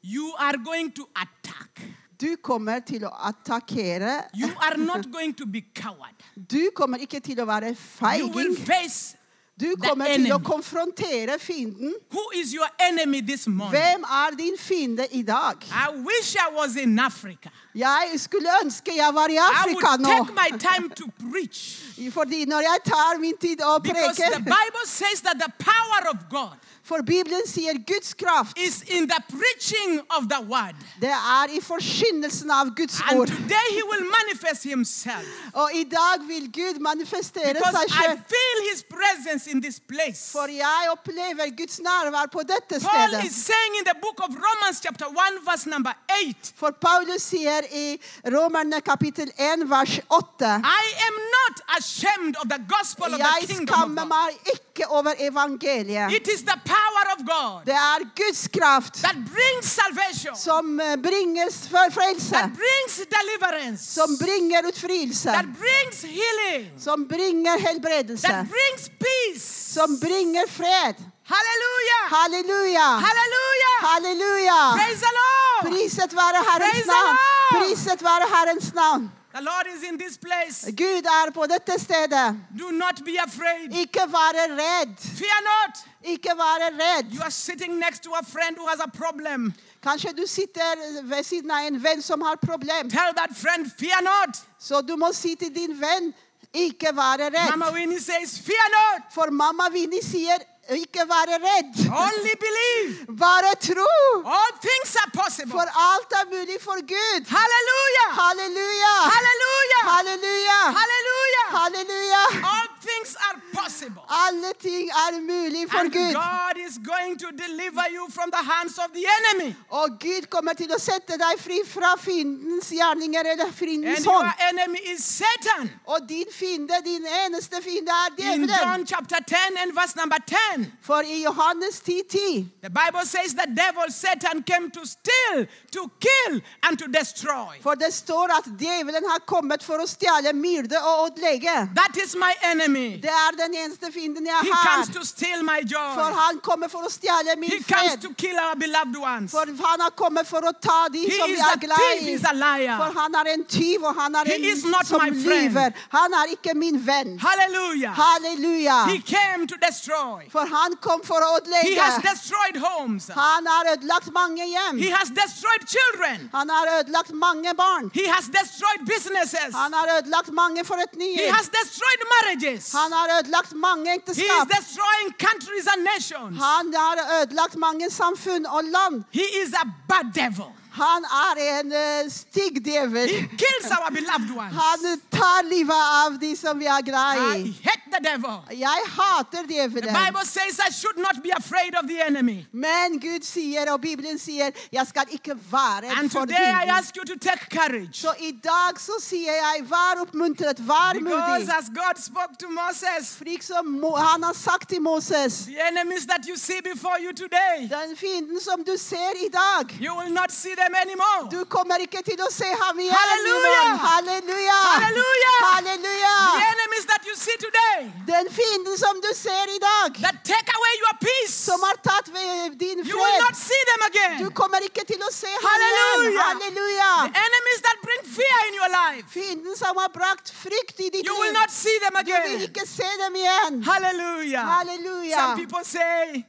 Speaker 1: You are going to attack.
Speaker 2: Du kommer til å attakkere.
Speaker 1: You are not going to be coward.
Speaker 2: Du kommer ikke til å være
Speaker 1: You will
Speaker 2: feiging.
Speaker 1: face
Speaker 2: Du
Speaker 1: the
Speaker 2: kommer til å
Speaker 1: enemy.
Speaker 2: konfrontere fienden.
Speaker 1: who is your enemy this morning.
Speaker 2: Hvem er din fiende i dag?
Speaker 1: I wish I was in Africa.
Speaker 2: Jeg skulle ønske jeg var i
Speaker 1: I
Speaker 2: Afrika
Speaker 1: would
Speaker 2: nå.
Speaker 1: take my time to preach
Speaker 2: Fordi når jeg tar min tid å
Speaker 1: because
Speaker 2: preke
Speaker 1: the Bible says that the power of God
Speaker 2: For Bibelen sier Guds kraft.
Speaker 1: is in the preaching of the word.
Speaker 2: Det er i forkynnelsen av Guds
Speaker 1: And
Speaker 2: ord.
Speaker 1: today he will manifest himself
Speaker 2: Og i dag vil Gud manifestere
Speaker 1: because
Speaker 2: seg
Speaker 1: I
Speaker 2: selv.
Speaker 1: feel his presence in this place.
Speaker 2: For jeg opplever Guds nærvær på dette
Speaker 1: Paul
Speaker 2: stedet.
Speaker 1: is saying in the book of Romans, chapter 1, verse number 8,
Speaker 2: For Paulus sier i Romerne kapittel 1 vers 8
Speaker 1: I am not ashamed of the gospel of the
Speaker 2: Jeg
Speaker 1: kingdom.
Speaker 2: skammer
Speaker 1: Of God.
Speaker 2: meg ikke over evangeliet.
Speaker 1: It is the power of God
Speaker 2: Det er Guds kraft
Speaker 1: that brings salvation,
Speaker 2: som eh, bringer s- fr- frelse.
Speaker 1: that brings deliverance,
Speaker 2: Som bringer utfrielse.
Speaker 1: that brings healing,
Speaker 2: Som bringer helbredelse.
Speaker 1: that brings peace.
Speaker 2: Som bringer fred.
Speaker 1: Hallelujah!
Speaker 2: Halleluja!
Speaker 1: Hallelujah!
Speaker 2: Halleluja!
Speaker 1: Praise the Lord!
Speaker 2: Priset være
Speaker 1: Praise
Speaker 2: Herrens
Speaker 1: the
Speaker 2: navn.
Speaker 1: Lord.
Speaker 2: Priset være Herrens navn.
Speaker 1: The Lord is in this place.
Speaker 2: Gud er på dette stedet.
Speaker 1: Do not be afraid.
Speaker 2: Ikke være redd.
Speaker 1: Fear not.
Speaker 2: Ikke være redd.
Speaker 1: You are sitting next to a friend who has a problem.
Speaker 2: Kanskje du sitter ved siden av en venn som har problem.
Speaker 1: Tell that friend, fear not.
Speaker 2: Så du må si til din venn ikke være redd.
Speaker 1: Mama Winnie says, fear not.
Speaker 2: For mamma Vinni sier ikke være redd.
Speaker 1: Only believe.
Speaker 2: Bare tro!
Speaker 1: All things are possible.
Speaker 2: For alt er mulig for Gud.
Speaker 1: Hallelujah.
Speaker 2: Halleluja!
Speaker 1: Hallelujah.
Speaker 2: Halleluja!
Speaker 1: Hallelujah.
Speaker 2: Halleluja!
Speaker 1: All things are possible.
Speaker 2: Alle ting er mulig for
Speaker 1: And
Speaker 2: Gud.
Speaker 1: God is going to deliver you from the hands of the enemy.
Speaker 2: Og Gud kommer til å sette deg fri fra fiendens gjerninger eller
Speaker 1: And
Speaker 2: fiendens
Speaker 1: your
Speaker 2: hånd.
Speaker 1: enemy is Satan.
Speaker 2: Og din fiende, din eneste fiende, er
Speaker 1: In
Speaker 2: djevelen.
Speaker 1: John chapter 10 and verse number 10,
Speaker 2: For i Johannes 10,10
Speaker 1: the Bible says the devil, Satan, came to steal, to kill, and to destroy.
Speaker 2: For det står at djevelen har kommet for å stjele, myrde og ødelegge.
Speaker 1: That is my enemy.
Speaker 2: Det er den eneste fienden
Speaker 1: He
Speaker 2: jeg
Speaker 1: comes
Speaker 2: har.
Speaker 1: to steal my
Speaker 2: For
Speaker 1: joy.
Speaker 2: han kommer for å stjele
Speaker 1: He
Speaker 2: min
Speaker 1: comes
Speaker 2: fred.
Speaker 1: to kill our beloved ones.
Speaker 2: For han har kommet for å ta de
Speaker 1: He
Speaker 2: som
Speaker 1: is
Speaker 2: vi
Speaker 1: a
Speaker 2: er glad
Speaker 1: thief,
Speaker 2: i.
Speaker 1: he's a liar.
Speaker 2: For han er en tyv, og han er
Speaker 1: He
Speaker 2: en
Speaker 1: is not
Speaker 2: som
Speaker 1: my friend.
Speaker 2: lyver. Han er ikke min venn.
Speaker 1: Hallelujah.
Speaker 2: Halleluja!
Speaker 1: He came to destroy.
Speaker 2: For han kom for å
Speaker 1: He has
Speaker 2: ødelegge.
Speaker 1: destroyed homes.
Speaker 2: Han har ødelagt mange hjem.
Speaker 1: He has destroyed children.
Speaker 2: Han har ødelagt mange barn.
Speaker 1: He has destroyed businesses.
Speaker 2: Han har ødelagt mange
Speaker 1: He
Speaker 2: forretninger.
Speaker 1: has destroyed marriages.
Speaker 2: Han har ødelagt mange
Speaker 1: He is
Speaker 2: ekteskap.
Speaker 1: destroying countries and nations.
Speaker 2: Han har ødelagt mange samfunn og land.
Speaker 1: He is a bad devil.
Speaker 2: Han er en eh, stygg djevel.
Speaker 1: He kills our beloved ones.
Speaker 2: Han tar livet av de som vi er
Speaker 1: I
Speaker 2: glad i.
Speaker 1: hate the devil.
Speaker 2: Jeg hater
Speaker 1: The
Speaker 2: djevelen.
Speaker 1: Bible says I should not be afraid of the enemy.
Speaker 2: Men Gud sier, og Bibelen sier, jeg skal ikke være
Speaker 1: And
Speaker 2: for
Speaker 1: today I
Speaker 2: vinden.
Speaker 1: ask you to take courage.
Speaker 2: Så i dag så sier jeg, vær oppmuntret, vær
Speaker 1: Because
Speaker 2: modig.
Speaker 1: as God spoke to Moses,
Speaker 2: Slik som Mo- han har sagt til Moses,
Speaker 1: the enemies that you see before you today,
Speaker 2: den fienden som du ser i dag,
Speaker 1: you will not see them anymore.
Speaker 2: du kommer ikke til å se ham igjen.
Speaker 1: Halleluja!
Speaker 2: min venn. Halleluja!
Speaker 1: Halleluja!
Speaker 2: Halleluja!
Speaker 1: The enemies that you see today
Speaker 2: Den fienden som du ser i dag,
Speaker 1: that take away your peace,
Speaker 2: som har tatt ved din
Speaker 1: you will not
Speaker 2: fred,
Speaker 1: see them
Speaker 2: du
Speaker 1: again.
Speaker 2: kommer ikke til å se ham igjen.
Speaker 1: Halleluja!
Speaker 2: Halleluja!
Speaker 1: The enemies that bring fear in your life,
Speaker 2: Fienden som har brakt frykt i ditt
Speaker 1: you will
Speaker 2: liv.
Speaker 1: not see them
Speaker 2: Du vil
Speaker 1: again.
Speaker 2: ikke se dem igjen.
Speaker 1: Hallelujah.
Speaker 2: Halleluja.
Speaker 1: Some people say,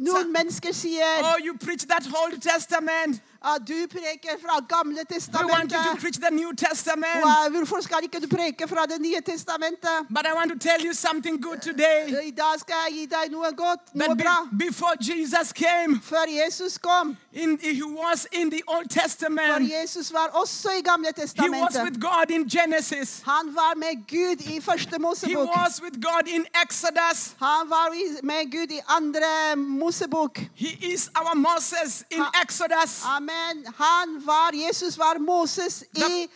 Speaker 2: Noen mennesker sier
Speaker 1: Oh, you preach that Old Testament.
Speaker 2: at du preker fra Gamle
Speaker 1: We want you to
Speaker 2: testamentet.
Speaker 1: preach the New Testament.
Speaker 2: Og Hvorfor skal ikke du preke fra Det nye testamentet?
Speaker 1: But I want to tell you something good today.
Speaker 2: I dag skal jeg gi deg noe godt, noe
Speaker 1: That be-
Speaker 2: bra.
Speaker 1: before Jesus came,
Speaker 2: Før Jesus kom,
Speaker 1: in, he was in the Old
Speaker 2: for
Speaker 1: Testament.
Speaker 2: Jesus var også i Gamle
Speaker 1: He was with
Speaker 2: testamentet.
Speaker 1: God in Genesis.
Speaker 2: Han var med Gud i første
Speaker 1: He
Speaker 2: Mosebok.
Speaker 1: was with God in Exodus.
Speaker 2: Han var i- med Gud i andre Mosebok.
Speaker 1: He is our Moses in
Speaker 2: Ha- Ah.
Speaker 1: Exodus.
Speaker 2: Amen. Han var, Jesus var Moses i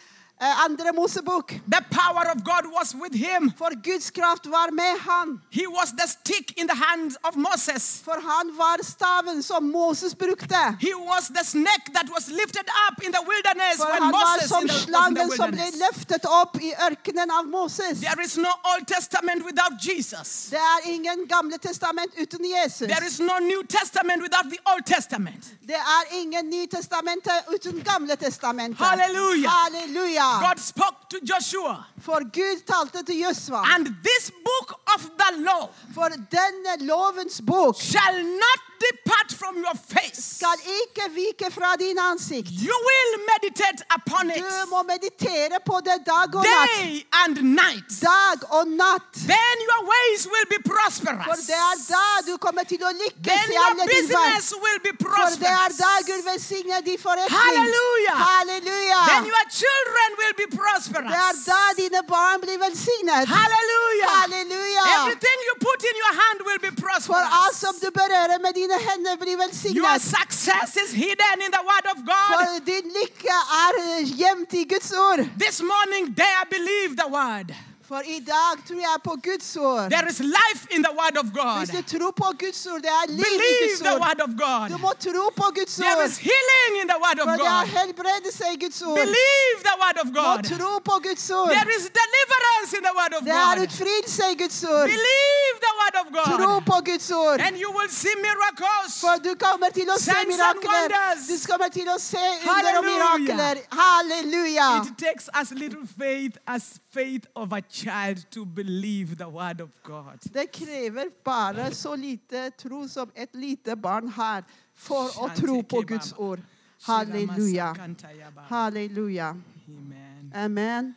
Speaker 2: eh, andre Mosebok.
Speaker 1: The power of God was with him.
Speaker 2: For Guds kraft var med han.
Speaker 1: He was the stick in the hand of Moses.
Speaker 2: For han var staven som Moses brukte.
Speaker 1: He was the snake that was lifted up in the wilderness
Speaker 2: For
Speaker 1: when
Speaker 2: han var
Speaker 1: Moses in
Speaker 2: som
Speaker 1: the, was in the
Speaker 2: slangen som ble
Speaker 1: wilderness.
Speaker 2: løftet opp i ørkenen av Moses.
Speaker 1: There is no Old Testament without Jesus.
Speaker 2: Det er ingen Gamle testament uten
Speaker 1: There
Speaker 2: Jesus.
Speaker 1: is no New Testament without the Old Testament.
Speaker 2: Det er ingen Nytestamentet uten Gamle testamentet.
Speaker 1: Halleluja!
Speaker 2: Halleluja!
Speaker 1: God spoke to Joshua,
Speaker 2: For Gud talte til Jøsva.
Speaker 1: and this book of the law
Speaker 2: For denne lovens bok
Speaker 1: shall not depart from your face.
Speaker 2: skal ikke vike fra din ansikt.
Speaker 1: You will meditate upon
Speaker 2: Du
Speaker 1: it
Speaker 2: må meditere på det dag og natt.
Speaker 1: day and night.
Speaker 2: Dag og natt.
Speaker 1: Then your ways will be
Speaker 2: For
Speaker 1: prosperous.
Speaker 2: det er da du kommer til å
Speaker 1: Then
Speaker 2: lykkes i alle
Speaker 1: your
Speaker 2: din vei.
Speaker 1: business will be
Speaker 2: For det er
Speaker 1: prosperous.
Speaker 2: da Gud velsigner din forretning.
Speaker 1: Halleluja!
Speaker 2: Halleluja!
Speaker 1: Then your children will be prosperous.
Speaker 2: Det er da dine barn blir velsignet.
Speaker 1: Hallelujah.
Speaker 2: Halleluja!
Speaker 1: Everything you put in your hand will be
Speaker 2: For alt som
Speaker 1: prosperous.
Speaker 2: du berører med dine hender, blir
Speaker 1: Your
Speaker 2: velsignet.
Speaker 1: success is hidden in the Word of God.
Speaker 2: For din lykke er eh, gjemt i Guds ord.
Speaker 1: This morning, dare believe the Word.
Speaker 2: For i dag tror jeg på Guds ord.
Speaker 1: There is life in the Word of God.
Speaker 2: Hvis du tror på Guds ord, det er liv i
Speaker 1: Believe
Speaker 2: Guds
Speaker 1: the
Speaker 2: ord.
Speaker 1: Word of
Speaker 2: Du
Speaker 1: God.
Speaker 2: må tro på Guds
Speaker 1: There
Speaker 2: ord.
Speaker 1: is healing in the Word
Speaker 2: For
Speaker 1: of
Speaker 2: det
Speaker 1: God.
Speaker 2: er helbredelse i Guds ord.
Speaker 1: Believe the Word of
Speaker 2: Du må
Speaker 1: God.
Speaker 2: tro på Guds ord.
Speaker 1: There is deliverance in the Word of
Speaker 2: Det er
Speaker 1: God.
Speaker 2: utfrielse i Guds ord.
Speaker 1: Believe the word of God.
Speaker 2: Tro på Guds ord.
Speaker 1: And you will see miracles.
Speaker 2: For du kommer til å se
Speaker 1: Signs and
Speaker 2: mirakler.
Speaker 1: wonders.
Speaker 2: Du kommer til å se under og
Speaker 1: Halleluja.
Speaker 2: mirakler. Halleluja.
Speaker 1: It takes as little faith as faith of a child to believe the word of God.
Speaker 2: Det krever bare så lite tro som et lite barn har for å
Speaker 1: Shanti
Speaker 2: tro på
Speaker 1: kebaba.
Speaker 2: Guds ord. Halleluja.
Speaker 1: Shiramasakantayaba.
Speaker 2: Halleluja.
Speaker 1: Amen.
Speaker 2: Amen.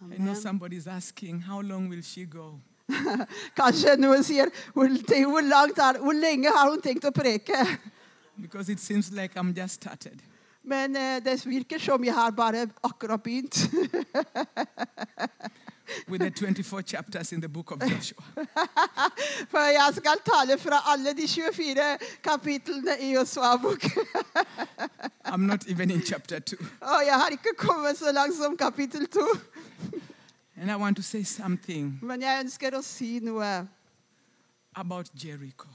Speaker 1: I know
Speaker 2: Amen.
Speaker 1: somebody's asking, how long will she go?
Speaker 2: Kanskje noen sier hvor, til hvor, langt er, hvor lenge har hun tenkt å preke?
Speaker 1: Because it seems like I'm just started.
Speaker 2: Men eh, det virker som jeg har bare akkurat begynt.
Speaker 1: with the 24 chapters in the book of Joshua.
Speaker 2: For jeg skal tale fra alle de 24 kapitlene i Josua-bok.
Speaker 1: I'm not even in chapter 2.
Speaker 2: Og jeg har ikke kommet så langt som kapittel 2.
Speaker 1: And I want to say something
Speaker 2: Men jeg ønsker å si noe
Speaker 1: about Jericho.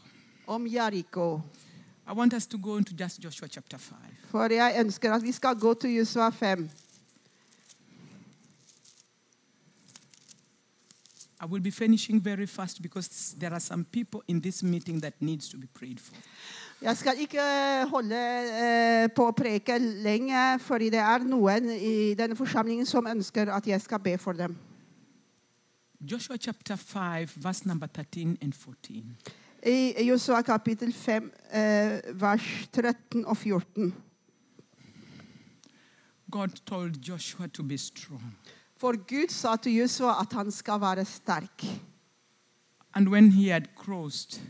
Speaker 2: om Jariko.
Speaker 1: I want us to go into just Joshua chapter 5.
Speaker 2: For jeg ønsker at vi skal gå til Josua 5.
Speaker 1: I will be finishing very fast because there are some people in this meeting that needs to be prayed for.
Speaker 2: Jeg skal ikke holde eh, på å preke lenge, fordi det er noen i denne forsamlingen som ønsker at jeg skal be for dem.
Speaker 1: Joshua chapter 5, verse number 13 and 14.
Speaker 2: I Josua kapittel 5, eh, vers 13 og 14.
Speaker 1: God told Joshua to be strong.
Speaker 2: For Gud sa til Josua at han skal være sterk.
Speaker 1: And when he had crossed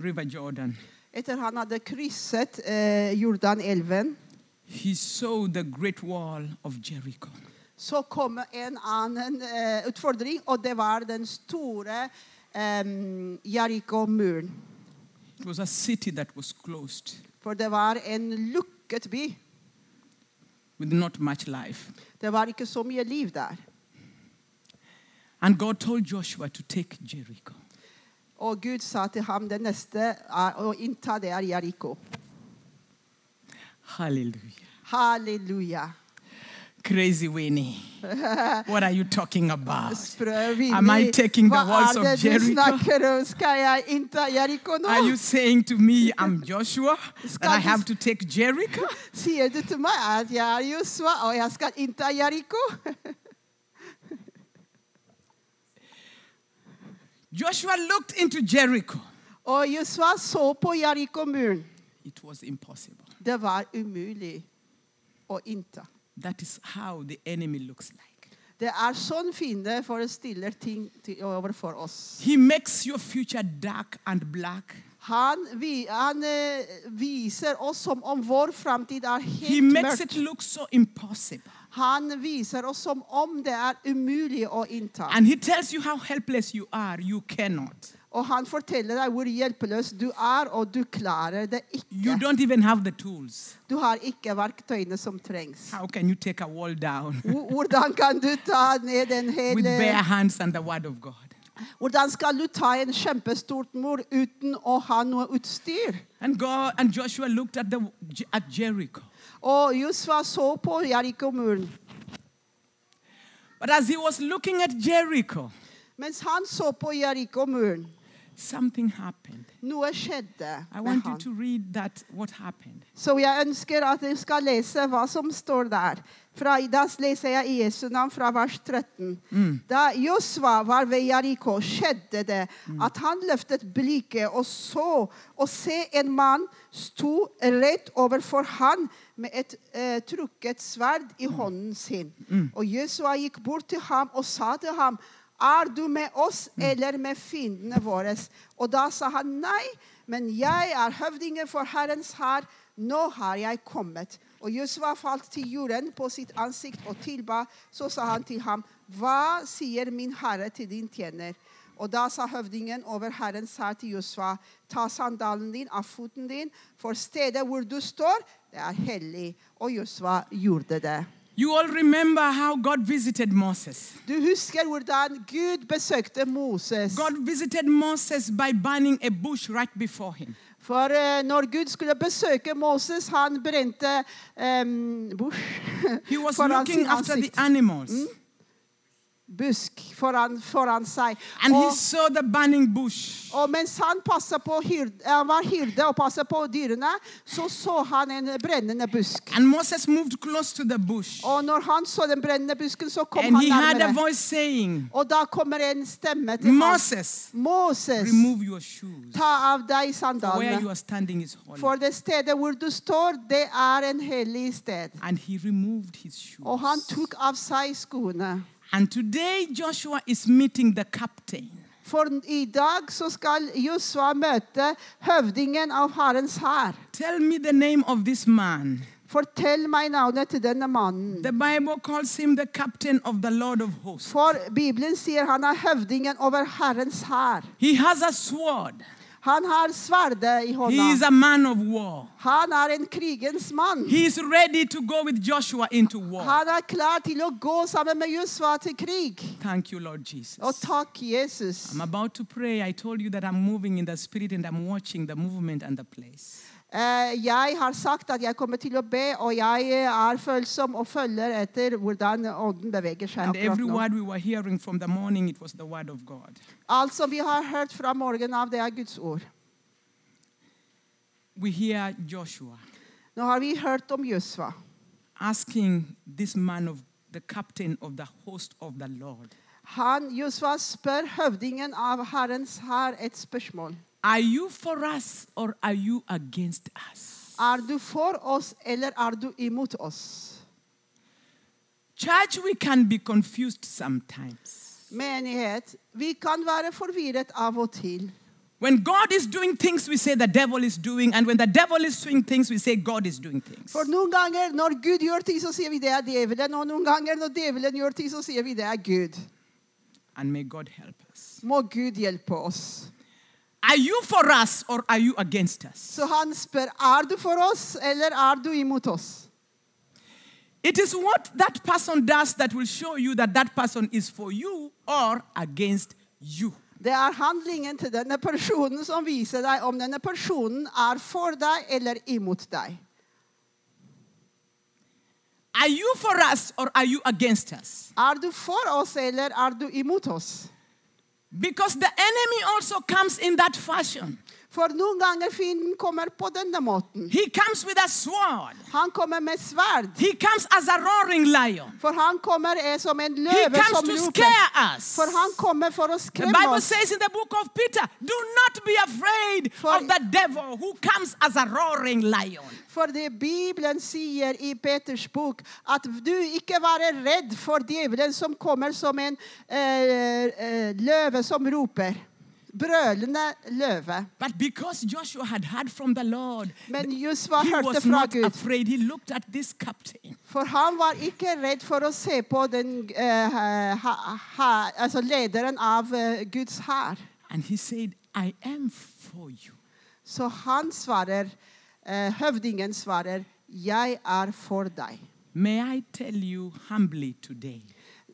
Speaker 1: River Jordan,
Speaker 2: Etter han hadde krysset eh, Jordanelven,
Speaker 1: he saw the great wall of Jericho.
Speaker 2: så kom en annen eh, utfordring, og det var den store eh, Jariko-muren.
Speaker 1: It was a city that was closed
Speaker 2: For det var en lukket by.
Speaker 1: with not much life.
Speaker 2: Det var ikke så mye liv der.
Speaker 1: And God told Joshua to take Jericho.
Speaker 2: Og Gud sa til ham det neste er å innta det er Jariko.
Speaker 1: Hallelujah.
Speaker 2: Halleluja.
Speaker 1: Crazy Winnie. what are you talking about?
Speaker 2: Sprø Vini.
Speaker 1: Am I taking the
Speaker 2: Hva
Speaker 1: walls
Speaker 2: er
Speaker 1: of
Speaker 2: det du
Speaker 1: Jericho?
Speaker 2: snakker om? Skal jeg innta Jariko nå?
Speaker 1: Are you saying to me, I'm Joshua, that I
Speaker 2: Scott is-
Speaker 1: have to take Jericho?
Speaker 2: Sier du til meg at jeg er Josua og jeg skal innta Jariko?
Speaker 1: Joshua looked into Jericho.
Speaker 2: Og Josua så på Jariko-muren.
Speaker 1: It was impossible.
Speaker 2: Det var umulig å innta.
Speaker 1: That is how the enemy looks like.
Speaker 2: Det er sånn fiende forestiller ting til, overfor oss.
Speaker 1: He makes your future dark and black.
Speaker 2: Han, vi, han eh, viser oss som om vår framtid er
Speaker 1: He
Speaker 2: helt
Speaker 1: makes
Speaker 2: mørk.
Speaker 1: it look so impossible.
Speaker 2: Han viser oss som om det er umulig å innta.
Speaker 1: And he tells you how helpless you are. You cannot.
Speaker 2: Og han forteller deg hvor hjelpeløs du er, og du klarer det
Speaker 1: You
Speaker 2: ikke.
Speaker 1: don't even have the tools.
Speaker 2: Du har ikke verktøyene som trengs.
Speaker 1: How can you take a wall down?
Speaker 2: Hvor- Hvordan kan du ta ned en hel
Speaker 1: with bare hands and the word of God.
Speaker 2: Hvordan skal du ta en kjempestort mor uten å ha noe utstyr?
Speaker 1: And God and Joshua looked at the at Jericho.
Speaker 2: Og Josua så på Jeriko-muren.
Speaker 1: But as he was looking at Jericho,
Speaker 2: Mens han så på Jeriko-muren,
Speaker 1: something happened.
Speaker 2: noe skjedde
Speaker 1: I
Speaker 2: med
Speaker 1: want you
Speaker 2: han.
Speaker 1: to read that what happened.
Speaker 2: Så jeg ønsker at dere skal lese hva som står der. Fra, da leser jeg i Jesu navn fra vers 13. Da Josva var ved Jariko, skjedde det at han løftet blikket og så og se en mann sto rett overfor han med et eh, trukket sverd i hånden sin. Og Josua gikk bort til ham og sa til ham, er du med oss eller med fiendene våre? Og da sa han nei, men jeg er høvdingen for Herrens hær. Nå har jeg kommet. Og Josua falt til jorden på sitt ansikt og tilba. Så sa han til ham, hva sier min herre til din tjener? Og da sa høvdingen over Herrens hær til Josua, ta sandalen din av foten din, for stedet hvor du står, det er hellig. Og Josua gjorde det.
Speaker 1: You all remember how God visited Moses.
Speaker 2: Du husker hvordan Gud besøkte Moses.
Speaker 1: God visited Moses by burning a bush right before him.
Speaker 2: For eh, når Gud skulle besøke Moses, han brente um, bush
Speaker 1: He was
Speaker 2: foran
Speaker 1: looking
Speaker 2: sin
Speaker 1: after the
Speaker 2: ansikt.
Speaker 1: animals.
Speaker 2: busk foran, foran seg.
Speaker 1: And he
Speaker 2: Og,
Speaker 1: saw the burning bush.
Speaker 2: og mens han, passet på hyrd, han var hyrde og passet på dyrene, så så han en brennende busk.
Speaker 1: And Moses moved close to the bush.
Speaker 2: Og når han så den brennende busken, så kom
Speaker 1: And
Speaker 2: han
Speaker 1: he heard a
Speaker 2: nærmere.
Speaker 1: voice saying,
Speaker 2: Og da kommer en stemme til ham.
Speaker 1: Moses,
Speaker 2: Moses,
Speaker 1: remove your shoes.
Speaker 2: ta av
Speaker 1: Where
Speaker 2: deg
Speaker 1: you
Speaker 2: sandalene.
Speaker 1: are standing is holy.
Speaker 2: For det stedet hvor du står, det er en hellig sted.
Speaker 1: And he removed his shoes.
Speaker 2: Og Oh, han tok av seg skoene.
Speaker 1: And today Joshua is meeting the captain.
Speaker 2: For i dag så skal Josua møte høvdingen av Herrens hær.
Speaker 1: Tell me the name of this man.
Speaker 2: Fortell meg navnet til denne mannen.
Speaker 1: The Bible calls him the captain of the Lord of hosts.
Speaker 2: For Bibelen sier han er høvdingen over Herrens hær.
Speaker 1: He has a sword.
Speaker 2: Han har sverdet i
Speaker 1: He is
Speaker 2: hånda.
Speaker 1: a man of war.
Speaker 2: Han er en krigens mann.
Speaker 1: He is ready to go with Joshua into war.
Speaker 2: Han er klar til å gå sammen med Josua til krig.
Speaker 1: Thank you, Lord Jesus.
Speaker 2: Og takk, Jesus.
Speaker 1: I'm about to pray. I told you that I'm moving in the spirit and I'm watching the movement and the place.
Speaker 2: Eh, Jeg har sagt at jeg kommer til å be, og jeg eh, er følsom og følger etter hvordan ånden beveger seg
Speaker 1: And
Speaker 2: akkurat
Speaker 1: every
Speaker 2: nå.
Speaker 1: word we were hearing from the morning, it was the word of God.
Speaker 2: Alt som vi har hørt fra morgenen av, det er Guds ord.
Speaker 1: We hear Joshua
Speaker 2: Nå har vi hørt om Josva.
Speaker 1: asking this man of the captain of the host of the Lord,
Speaker 2: Han, Josva spør høvdingen av Herrens hær et spørsmål.
Speaker 1: Are you for us or are you against us?
Speaker 2: Er du for oss, eller er du imot oss?
Speaker 1: Church, we can be confused sometimes.
Speaker 2: Menighet, vi kan være forvirret av og til.
Speaker 1: When God is doing things, we say the devil is doing, and when the devil is doing things, we say God is doing things.
Speaker 2: For noen ganger når Gud gjør ting, så sier vi det er djevelen. Og noen ganger når djevelen gjør ting, så sier vi det er Gud.
Speaker 1: And may God help us.
Speaker 2: Må Gud hjelpe oss.
Speaker 1: Are you for us or are you against us?
Speaker 2: Så han spør er du for oss, eller er du imot oss.
Speaker 1: It is what that person does that will show you that that person is for you or against you.
Speaker 2: Det er handlingen til denne personen som viser deg om denne personen er for deg eller imot deg.
Speaker 1: Are you for us or are you against us?
Speaker 2: Er du for oss, eller er du imot oss?
Speaker 1: Because the enemy also comes in that fashion.
Speaker 2: For noen ganger fienden kommer på denne måten.
Speaker 1: He comes with a sword.
Speaker 2: Han kommer med sverd.
Speaker 1: He comes as a roaring lion.
Speaker 2: For han kommer eh, som en
Speaker 1: He
Speaker 2: løve
Speaker 1: comes
Speaker 2: som
Speaker 1: to
Speaker 2: roper.
Speaker 1: scare us.
Speaker 2: For han kommer for å
Speaker 1: The
Speaker 2: skremme
Speaker 1: Bible
Speaker 2: oss.
Speaker 1: says in the book of Peter, do not be afraid
Speaker 2: For-
Speaker 1: of the devil who comes as a roaring lion.
Speaker 2: Fordi Bibelen sier i Peters bok at du ikke være redd for djevelen som kommer som en eh, eh, løve som roper. Brølende løve.
Speaker 1: But because Joshua had heard from the Lord,
Speaker 2: Men Josva
Speaker 1: he
Speaker 2: hørte
Speaker 1: was
Speaker 2: fra
Speaker 1: not
Speaker 2: Gud,
Speaker 1: afraid. He looked at this captain.
Speaker 2: for han var ikke redd for å se på den, eh, ha, ha, altså lederen av eh, Guds hær.
Speaker 1: And he said, I am for you.
Speaker 2: Så han svarer, eh, høvdingen svarer, 'Jeg er for deg'.
Speaker 1: May I tell you humbly today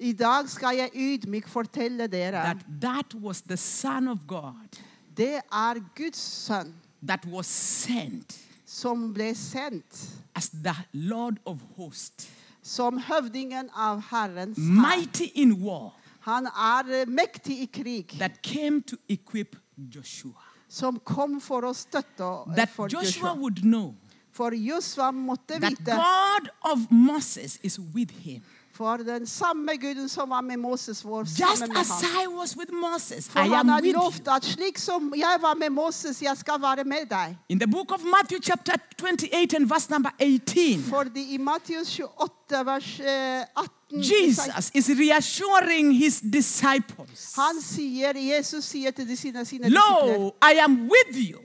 Speaker 2: I dag skal jeg ydmyk fortelle dere
Speaker 1: that that was the Son of God
Speaker 2: det er Guds sønn
Speaker 1: that was sent
Speaker 2: som ble sendt
Speaker 1: as the Lord of hosts,
Speaker 2: som høvdingen av Herrens hær.
Speaker 1: mighty in war,
Speaker 2: Han er eh, mektig i krig,
Speaker 1: that came to equip Joshua.
Speaker 2: som kom for å støtte eh,
Speaker 1: That
Speaker 2: for
Speaker 1: Joshua
Speaker 2: Joshua.
Speaker 1: would know
Speaker 2: For Josua måtte
Speaker 1: that
Speaker 2: vite
Speaker 1: God of Moses is with him.
Speaker 2: For den samme Guden som var med Moses, var
Speaker 1: Just
Speaker 2: sammen med
Speaker 1: as
Speaker 2: ham.
Speaker 1: I was with Moses,
Speaker 2: For
Speaker 1: I
Speaker 2: han
Speaker 1: am
Speaker 2: har
Speaker 1: with you.
Speaker 2: lovt at slik som jeg var med Moses, jeg skal være med deg.
Speaker 1: In the book of Matthew, chapter 28, and verse number 18,
Speaker 2: Fordi i Matteus 28, vers eh, 18
Speaker 1: Jesus is reassuring his disciples
Speaker 2: Han sier, Jesus sier til de sine, sine disipler
Speaker 1: Lo, I am with you.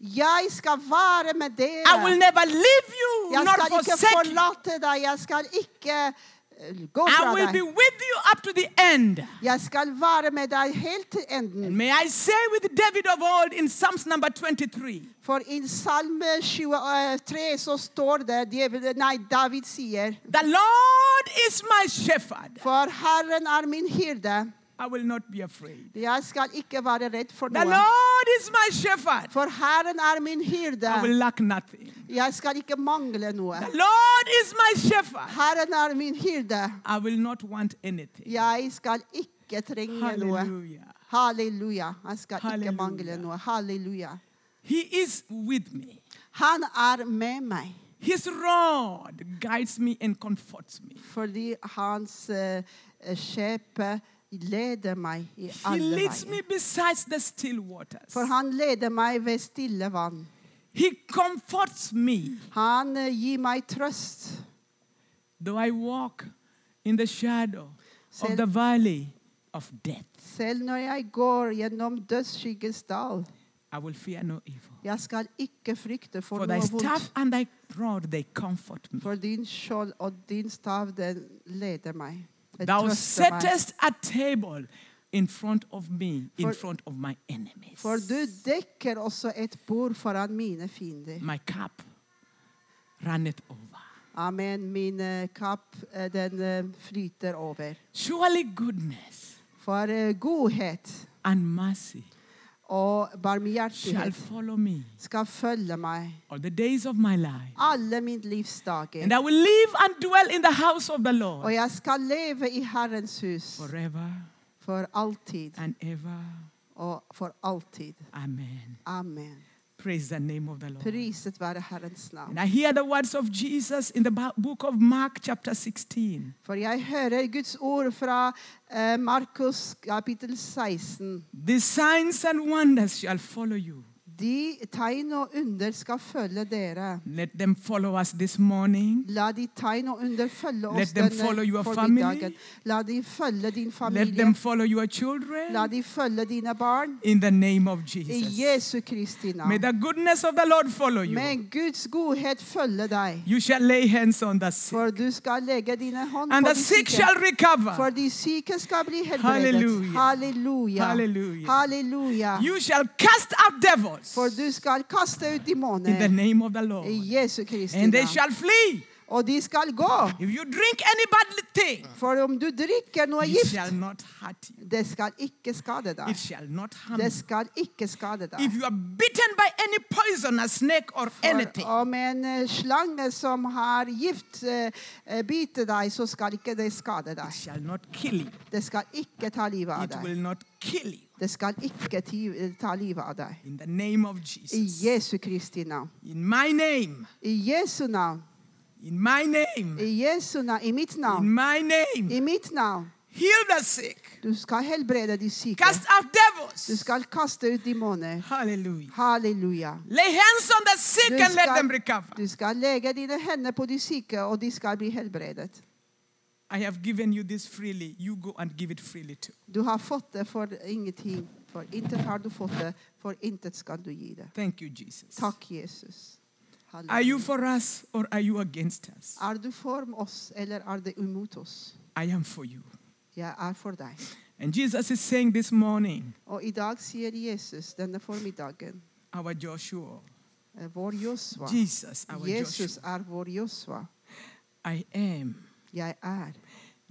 Speaker 2: Jeg skal være med dere.
Speaker 1: I will never leave you
Speaker 2: jeg
Speaker 1: nor
Speaker 2: skal ikke
Speaker 1: forsake you.
Speaker 2: forlate deg. Jeg skal ikke eh, gå
Speaker 1: I
Speaker 2: fra
Speaker 1: will be
Speaker 2: deg.
Speaker 1: with you up to the end.
Speaker 2: Jeg skal være med deg helt til enden.
Speaker 1: May I say with David of old in Psalms number 23
Speaker 2: For i Salme 23 så står det djevelen- Nei, David sier
Speaker 1: The Lord is my shepherd.
Speaker 2: For Herren er min hyrde.
Speaker 1: I will not be afraid.
Speaker 2: Jeg skal ikke være redd for
Speaker 1: The
Speaker 2: noe.
Speaker 1: Lord Lord is my shepherd.
Speaker 2: For Herren er min hyrde.
Speaker 1: I will lack nothing.
Speaker 2: Jeg skal ikke mangle noe.
Speaker 1: The Lord is my shepherd.
Speaker 2: Herren er min hyrde.
Speaker 1: I will not want anything.
Speaker 2: Jeg skal ikke trenge noe.
Speaker 1: Hallelujah.
Speaker 2: Halleluja. Jeg skal
Speaker 1: Halleluja.
Speaker 2: ikke mangle noe. Halleluja.
Speaker 1: He is with me.
Speaker 2: Han er med meg
Speaker 1: His rod guides me and comforts me.
Speaker 2: fordi hans eh, skjepe leder meg i
Speaker 1: He
Speaker 2: alle
Speaker 1: leads
Speaker 2: veier.
Speaker 1: me beside the still waters.
Speaker 2: For han leder meg ved stille vann.
Speaker 1: He comforts me.
Speaker 2: Han eh, gir meg trøst.
Speaker 1: Though I walk in the shadow
Speaker 2: Selv-
Speaker 1: of the valley of death,
Speaker 2: Selv når jeg går gjennom dødsskyggens dal,
Speaker 1: I will fear no evil.
Speaker 2: jeg skal ikke frykte for,
Speaker 1: For thy
Speaker 2: noe vondt.
Speaker 1: staff and thy rod, they comfort me.
Speaker 2: For din skjold og din stav, den leder meg. Den
Speaker 1: Thou
Speaker 2: trøster meg.
Speaker 1: settest a table in front of me, in
Speaker 2: For-
Speaker 1: front of my enemies.
Speaker 2: For du dekker også et bord foran mine fiender.
Speaker 1: My cup runneth over.
Speaker 2: Amen. Min eh, kapp, eh, den eh, flyter over.
Speaker 1: Surely goodness
Speaker 2: For eh, godhet
Speaker 1: and mercy
Speaker 2: og
Speaker 1: shall
Speaker 2: barmhjertighet
Speaker 1: follow me
Speaker 2: skal følge meg
Speaker 1: all the days of my life.
Speaker 2: alle mine livsdager.
Speaker 1: And I will live and dwell in the house of the
Speaker 2: Og
Speaker 1: Lord
Speaker 2: jeg skal leve i Herrens hus
Speaker 1: forever
Speaker 2: for alltid
Speaker 1: and ever.
Speaker 2: og for alltid.
Speaker 1: Amen.
Speaker 2: Amen.
Speaker 1: Praise the name of the Lord.
Speaker 2: Priset være Herrens navn.
Speaker 1: And I hear the words of Jesus in the ba- book of Mark, chapter 16.
Speaker 2: For jeg hører Guds ord fra eh, Markus kapittel 16.
Speaker 1: These signs and wonders shall follow you.
Speaker 2: De tegn og under skal følge dere.
Speaker 1: Let them follow us this morning.
Speaker 2: La de tegn og under følge oss
Speaker 1: Let them follow your
Speaker 2: denne
Speaker 1: family.
Speaker 2: formiddagen. La de følge din
Speaker 1: Let them
Speaker 2: familie.
Speaker 1: follow your children.
Speaker 2: La de følge dine barn.
Speaker 1: In the name of
Speaker 2: I
Speaker 1: Jesus.
Speaker 2: Jesu Kristi
Speaker 1: May
Speaker 2: navn.
Speaker 1: the goodness of the Lord follow you.
Speaker 2: Med Guds godhet følge deg.
Speaker 1: You shall lay hands on the sick,
Speaker 2: For du skal legge dine hånd
Speaker 1: and
Speaker 2: på
Speaker 1: the
Speaker 2: de
Speaker 1: sick
Speaker 2: syke.
Speaker 1: shall recover.
Speaker 2: For de syke skal bli helbredet.
Speaker 1: Halleluja.
Speaker 2: Halleluja.
Speaker 1: Halleluja.
Speaker 2: Halleluja.
Speaker 1: You shall cast out devils
Speaker 2: For du skal kaste ut
Speaker 1: in the
Speaker 2: demoner.
Speaker 1: name of the Lord,
Speaker 2: I Jesu Kristi
Speaker 1: and they
Speaker 2: navn.
Speaker 1: shall flee.
Speaker 2: Og de skal gå.
Speaker 1: If you drink any bad thing,
Speaker 2: For om du drikker noe
Speaker 1: it
Speaker 2: gift
Speaker 1: shall not hurt you.
Speaker 2: Det skal ikke skade
Speaker 1: It
Speaker 2: deg.
Speaker 1: shall not harm
Speaker 2: Det
Speaker 1: you.
Speaker 2: skal ikke skade deg.
Speaker 1: If you are bitten by any poison, a snake, or anything,
Speaker 2: For om en eh, slange som har gift, eh, eh, biter deg, så skal ikke det skade
Speaker 1: it
Speaker 2: deg.
Speaker 1: shall not kill you.
Speaker 2: Det skal ikke ta livet av
Speaker 1: It will
Speaker 2: deg.
Speaker 1: not kill you.
Speaker 2: Det skal ikke ti- eh, ta livet av deg.
Speaker 1: In the name of
Speaker 2: I
Speaker 1: Jesus.
Speaker 2: Jesu Kristi navn.
Speaker 1: In my name.
Speaker 2: I Jesu navn.
Speaker 1: In my name.
Speaker 2: I Jesu navn. I mitt
Speaker 1: In
Speaker 2: navn.
Speaker 1: my name.
Speaker 2: I mitt navn.
Speaker 1: Heal the sick.
Speaker 2: Du skal helbrede de syke.
Speaker 1: Cast out
Speaker 2: Du
Speaker 1: devils.
Speaker 2: skal kaste ut demoner.
Speaker 1: Hallelujah.
Speaker 2: Halleluja.
Speaker 1: Lay hands on the sick
Speaker 2: Du
Speaker 1: and let
Speaker 2: skal,
Speaker 1: them recover.
Speaker 2: du skal legge dine hender på de syke, og de skal bli helbredet.
Speaker 1: I have given you this freely. You go and give it freely too.
Speaker 2: Du har fått det for ingenting. For intet har du fått det, for intet skal du gi det.
Speaker 1: Thank you, Jesus.
Speaker 2: Takk, Jesus.
Speaker 1: Are you
Speaker 2: Halleluja.
Speaker 1: for us or are you against us?
Speaker 2: Er du for oss, eller er du imot oss?
Speaker 1: I am for you.
Speaker 2: Jeg er for deg.
Speaker 1: And Jesus is saying this morning,
Speaker 2: Og i dag sier Jesus denne formiddagen
Speaker 1: our Joshua,
Speaker 2: eh, vår Josva.
Speaker 1: Jesus, our
Speaker 2: Jesus
Speaker 1: Joshua,
Speaker 2: er vår Josva.
Speaker 1: I am
Speaker 2: Jeg er.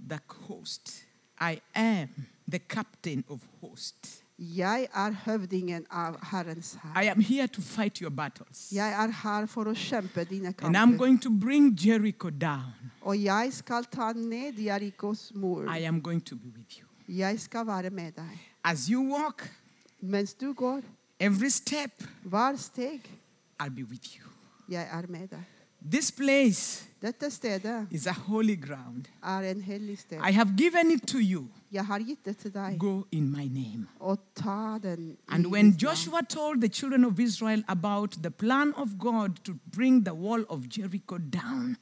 Speaker 1: the host. I am the captain of hosts.
Speaker 2: Jeg er høvdingen av Herrens hær.
Speaker 1: I am here to fight your battles.
Speaker 2: Jeg er her for å kjempe dine
Speaker 1: And I'm
Speaker 2: kamper.
Speaker 1: going to bring Jericho down.
Speaker 2: Og jeg skal ta ned Jerikos mor.
Speaker 1: I am going to be with you.
Speaker 2: Jeg skal være med deg.
Speaker 1: As you walk,
Speaker 2: Mens du går,
Speaker 1: every step,
Speaker 2: hver steg,
Speaker 1: I'll be with you.
Speaker 2: jeg er med deg.
Speaker 1: This place
Speaker 2: Dette stedet
Speaker 1: is a holy ground.
Speaker 2: er en hellig sted.
Speaker 1: I have given it to you.
Speaker 2: Jeg har gitt det til deg.
Speaker 1: Go in my name.
Speaker 2: Og ta den. i
Speaker 1: And when
Speaker 2: ditt navn.
Speaker 1: Joshua told the children of Israel about the plan of God to bring the wall of Jericho down,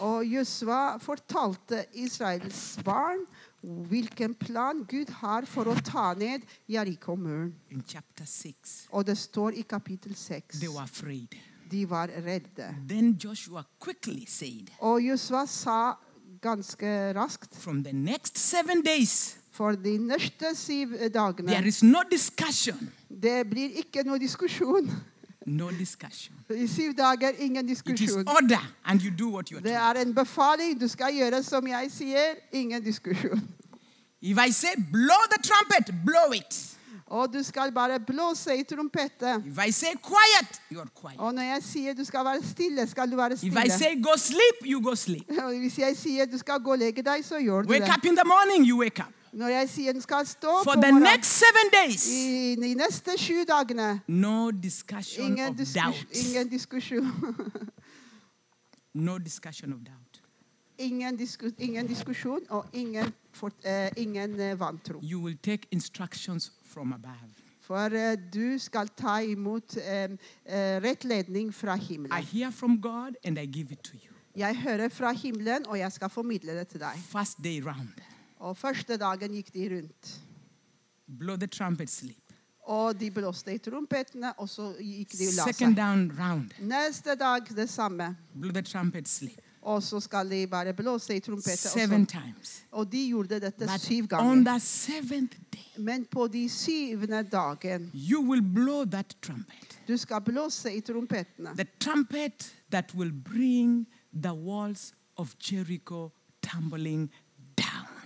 Speaker 2: Og Josua fortalte Israels barn hvilken plan Gud har for å ta ned Jeriko-muren.
Speaker 1: in chapter 6,
Speaker 2: Og det står i kapittel 6.
Speaker 1: they were afraid.
Speaker 2: De var redde.
Speaker 1: Then Joshua quickly said,
Speaker 2: Og Josua sa ganske raskt
Speaker 1: From the next seven days,
Speaker 2: for de neste syv dagene
Speaker 1: there is no discussion.
Speaker 2: Det blir ikke noe diskusjon.
Speaker 1: No discussion.
Speaker 2: I syv dager ingen
Speaker 1: It is
Speaker 2: diskusjon.
Speaker 1: order, and you do what you are
Speaker 2: Det
Speaker 1: told.
Speaker 2: er en befaling. Du skal gjøre som jeg sier. Ingen diskusjon.
Speaker 1: If I say blow the trumpet, blow it.
Speaker 2: Og du skal bare blåse i trompette.
Speaker 1: If I say quiet, you are quiet.
Speaker 2: Og når jeg sier du skal være stille, skal du være
Speaker 1: If I
Speaker 2: stille.
Speaker 1: say go sleep, you go sleep.
Speaker 2: Og hvis jeg sier du skal gå og legge deg, så gjør du
Speaker 1: Wake
Speaker 2: det.
Speaker 1: up in the morning, you wake up.
Speaker 2: Når jeg sier du skal stå
Speaker 1: For
Speaker 2: på
Speaker 1: the
Speaker 2: morgenen
Speaker 1: next seven days,
Speaker 2: i, i neste sju dagene
Speaker 1: no discussion
Speaker 2: Ingen,
Speaker 1: of
Speaker 2: diskus,
Speaker 1: doubt.
Speaker 2: ingen diskusjon.
Speaker 1: No discussion of doubt.
Speaker 2: Ingen, diskus, ingen diskusjon og ingen, fort, eh, ingen eh, vantro.
Speaker 1: You will take instructions from above.
Speaker 2: For eh, du skal ta imot eh, eh, rettledning fra
Speaker 1: I
Speaker 2: himmelen.
Speaker 1: hear from God and I give it to you.
Speaker 2: Jeg hører fra himmelen, og jeg skal formidle det til deg.
Speaker 1: First day round.
Speaker 2: Og første dagen gikk de rundt.
Speaker 1: Blow the trumpet, sleep.
Speaker 2: Og de blåste i trompetene, og så gikk de og la
Speaker 1: Second
Speaker 2: seg.
Speaker 1: down round.
Speaker 2: Neste dag det samme.
Speaker 1: Blow the trumpet, sleep.
Speaker 2: Og så skal de bare blåse i trompeter.
Speaker 1: Seven
Speaker 2: Og,
Speaker 1: times.
Speaker 2: så- og de gjorde dette
Speaker 1: But
Speaker 2: syv
Speaker 1: on
Speaker 2: ganger.
Speaker 1: the seventh day,
Speaker 2: Men på de syvende dagen
Speaker 1: you will blow that trumpet.
Speaker 2: Du skal blåse i trompetene.
Speaker 1: The trumpet that will bring the walls of Jericho tumbling down.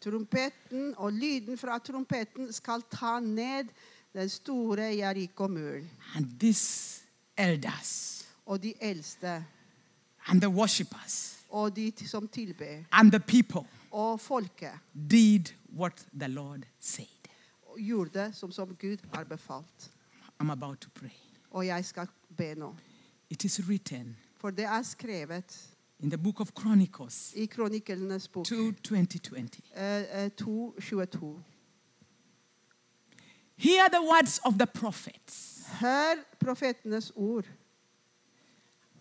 Speaker 2: Trompeten og lyden fra trompeten skal ta ned den store Jeriko-muren.
Speaker 1: And these elders,
Speaker 2: Og de eldste,
Speaker 1: and the worshippers,
Speaker 2: og de t- som tilber,
Speaker 1: and the people
Speaker 2: og folket
Speaker 1: did what the Lord said.
Speaker 2: og gjorde som, som Gud har befalt.
Speaker 1: I'm about to pray.
Speaker 2: Og jeg skal be nå.
Speaker 1: It is written
Speaker 2: For det er skrevet
Speaker 1: in the book of Chronicles
Speaker 2: i Kronikkellenes bok
Speaker 1: 2 2020.
Speaker 2: eh, eh, 2.22.
Speaker 1: Hear the words of the prophets,
Speaker 2: Hør profetenes ord,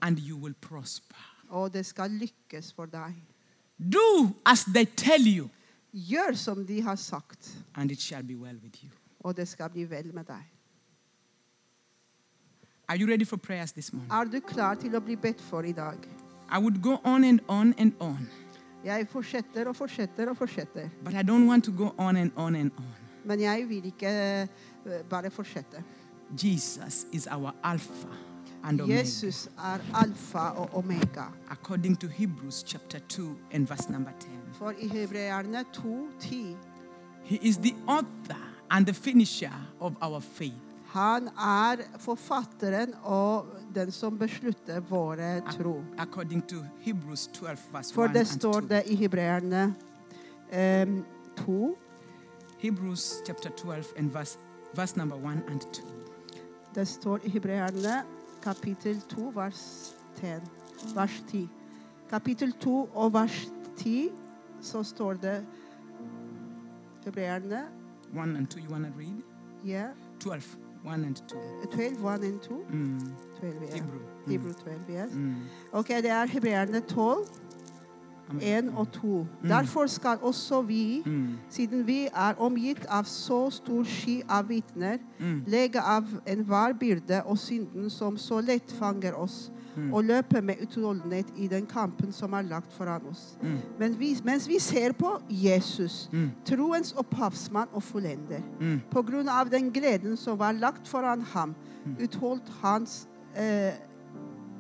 Speaker 1: and you will prosper.
Speaker 2: og det skal lykkes for deg.
Speaker 1: Do as they tell you,
Speaker 2: Gjør som de har sagt,
Speaker 1: and it shall be well with you.
Speaker 2: og det skal bli vel med deg.
Speaker 1: Are you ready for prayers this morning?
Speaker 2: Er du klar til å bli bedt for i dag?
Speaker 1: I would go on and on and on,
Speaker 2: Jeg fortsetter og fortsetter og fortsetter.
Speaker 1: but I don't want to go on and on and on.
Speaker 2: Men jeg vil ikke eh, bare fortsette.
Speaker 1: Jesus is our Alpha and Omega,
Speaker 2: Jesus er alfa og omega.
Speaker 1: according to Hebrews chapter 2 and verse number 10.
Speaker 2: For i hebreerne 2.10
Speaker 1: He is the author and the finisher of our faith,
Speaker 2: Han er forfatteren og den som beslutter våre tro.
Speaker 1: according to Hebrews 12, verse
Speaker 2: For
Speaker 1: 1
Speaker 2: det
Speaker 1: and 2.
Speaker 2: står det i hebreerne eh, em, 2,
Speaker 1: Hebrews chapter 12 and verse, verse number 1 and 2.
Speaker 2: det står i hebreerne kapittel 2, vers 10. Vers 10. Kapittel 2 og vers 10, så står det hebreerne
Speaker 1: 1 and 2, you want to read?
Speaker 2: yeah,
Speaker 1: 12, 1 and 2.
Speaker 2: 12, 1 and 2.
Speaker 1: Mm,
Speaker 2: 12, yeah.
Speaker 1: Hebrew.
Speaker 2: Hebrew 12, yes.
Speaker 1: Mm.
Speaker 2: Ok, det er hebreerne 12,
Speaker 1: Amen.
Speaker 2: 1 og 2. Derfor skal også vi,
Speaker 1: Mm.
Speaker 2: siden vi er omgitt av så stor sky av vitner,
Speaker 1: Mm.
Speaker 2: legge av enhver byrde og synden som så lett fanger oss,
Speaker 1: mm,
Speaker 2: og løpe med utholdenhet i den kampen som er lagt foran oss.
Speaker 1: Mm.
Speaker 2: Men vi, mens vi ser på Jesus,
Speaker 1: Mm.
Speaker 2: troens opphavsmann og fullender,
Speaker 1: Mm.
Speaker 2: på grunn av den gleden som var lagt foran ham, utholdt hans eh,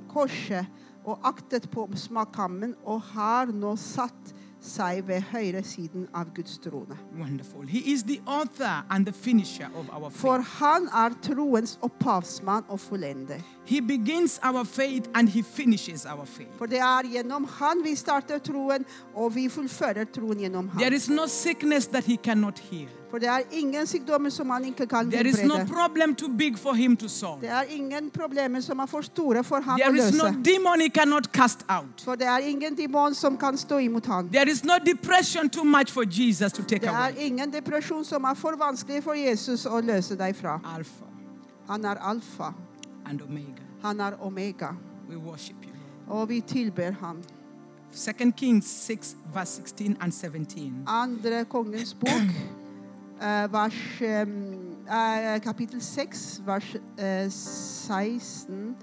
Speaker 2: korset og aktet på smakammen, og har nå satt seg ved høyresiden av Guds trone.
Speaker 1: Wonderful. He is the author and the finisher of our faith.
Speaker 2: For han er troens opphavsmann og fullender.
Speaker 1: he begins our faith and he finishes our faith.
Speaker 2: For det er gjennom han vi starter troen, og vi fullfører troen gjennom
Speaker 1: There
Speaker 2: han.
Speaker 1: is no sickness that he cannot heal.
Speaker 2: For det er ingen sykdommer som han ikke kan
Speaker 1: There is no
Speaker 2: helbrede.
Speaker 1: problem too big for him to solve.
Speaker 2: Det er ingen problemer som er for store for ham å
Speaker 1: There is no
Speaker 2: løse.
Speaker 1: demon he cannot cast out.
Speaker 2: For det er ingen demon som kan stå imot han.
Speaker 1: There is no depression too much for Jesus to take
Speaker 2: Det er
Speaker 1: away.
Speaker 2: ingen depresjon som er for vanskelig for Jesus å løse deg fra.
Speaker 1: Alpha
Speaker 2: Han er alfa.
Speaker 1: and Omega.
Speaker 2: Han er omega.
Speaker 1: We worship you, Lord.
Speaker 2: Og vi tilber ham.
Speaker 1: 2 Kings 6, verse 16 and 17.
Speaker 2: Andre kongens bok, eh, vers, eh, eh, kapittel 6, vers eh, 16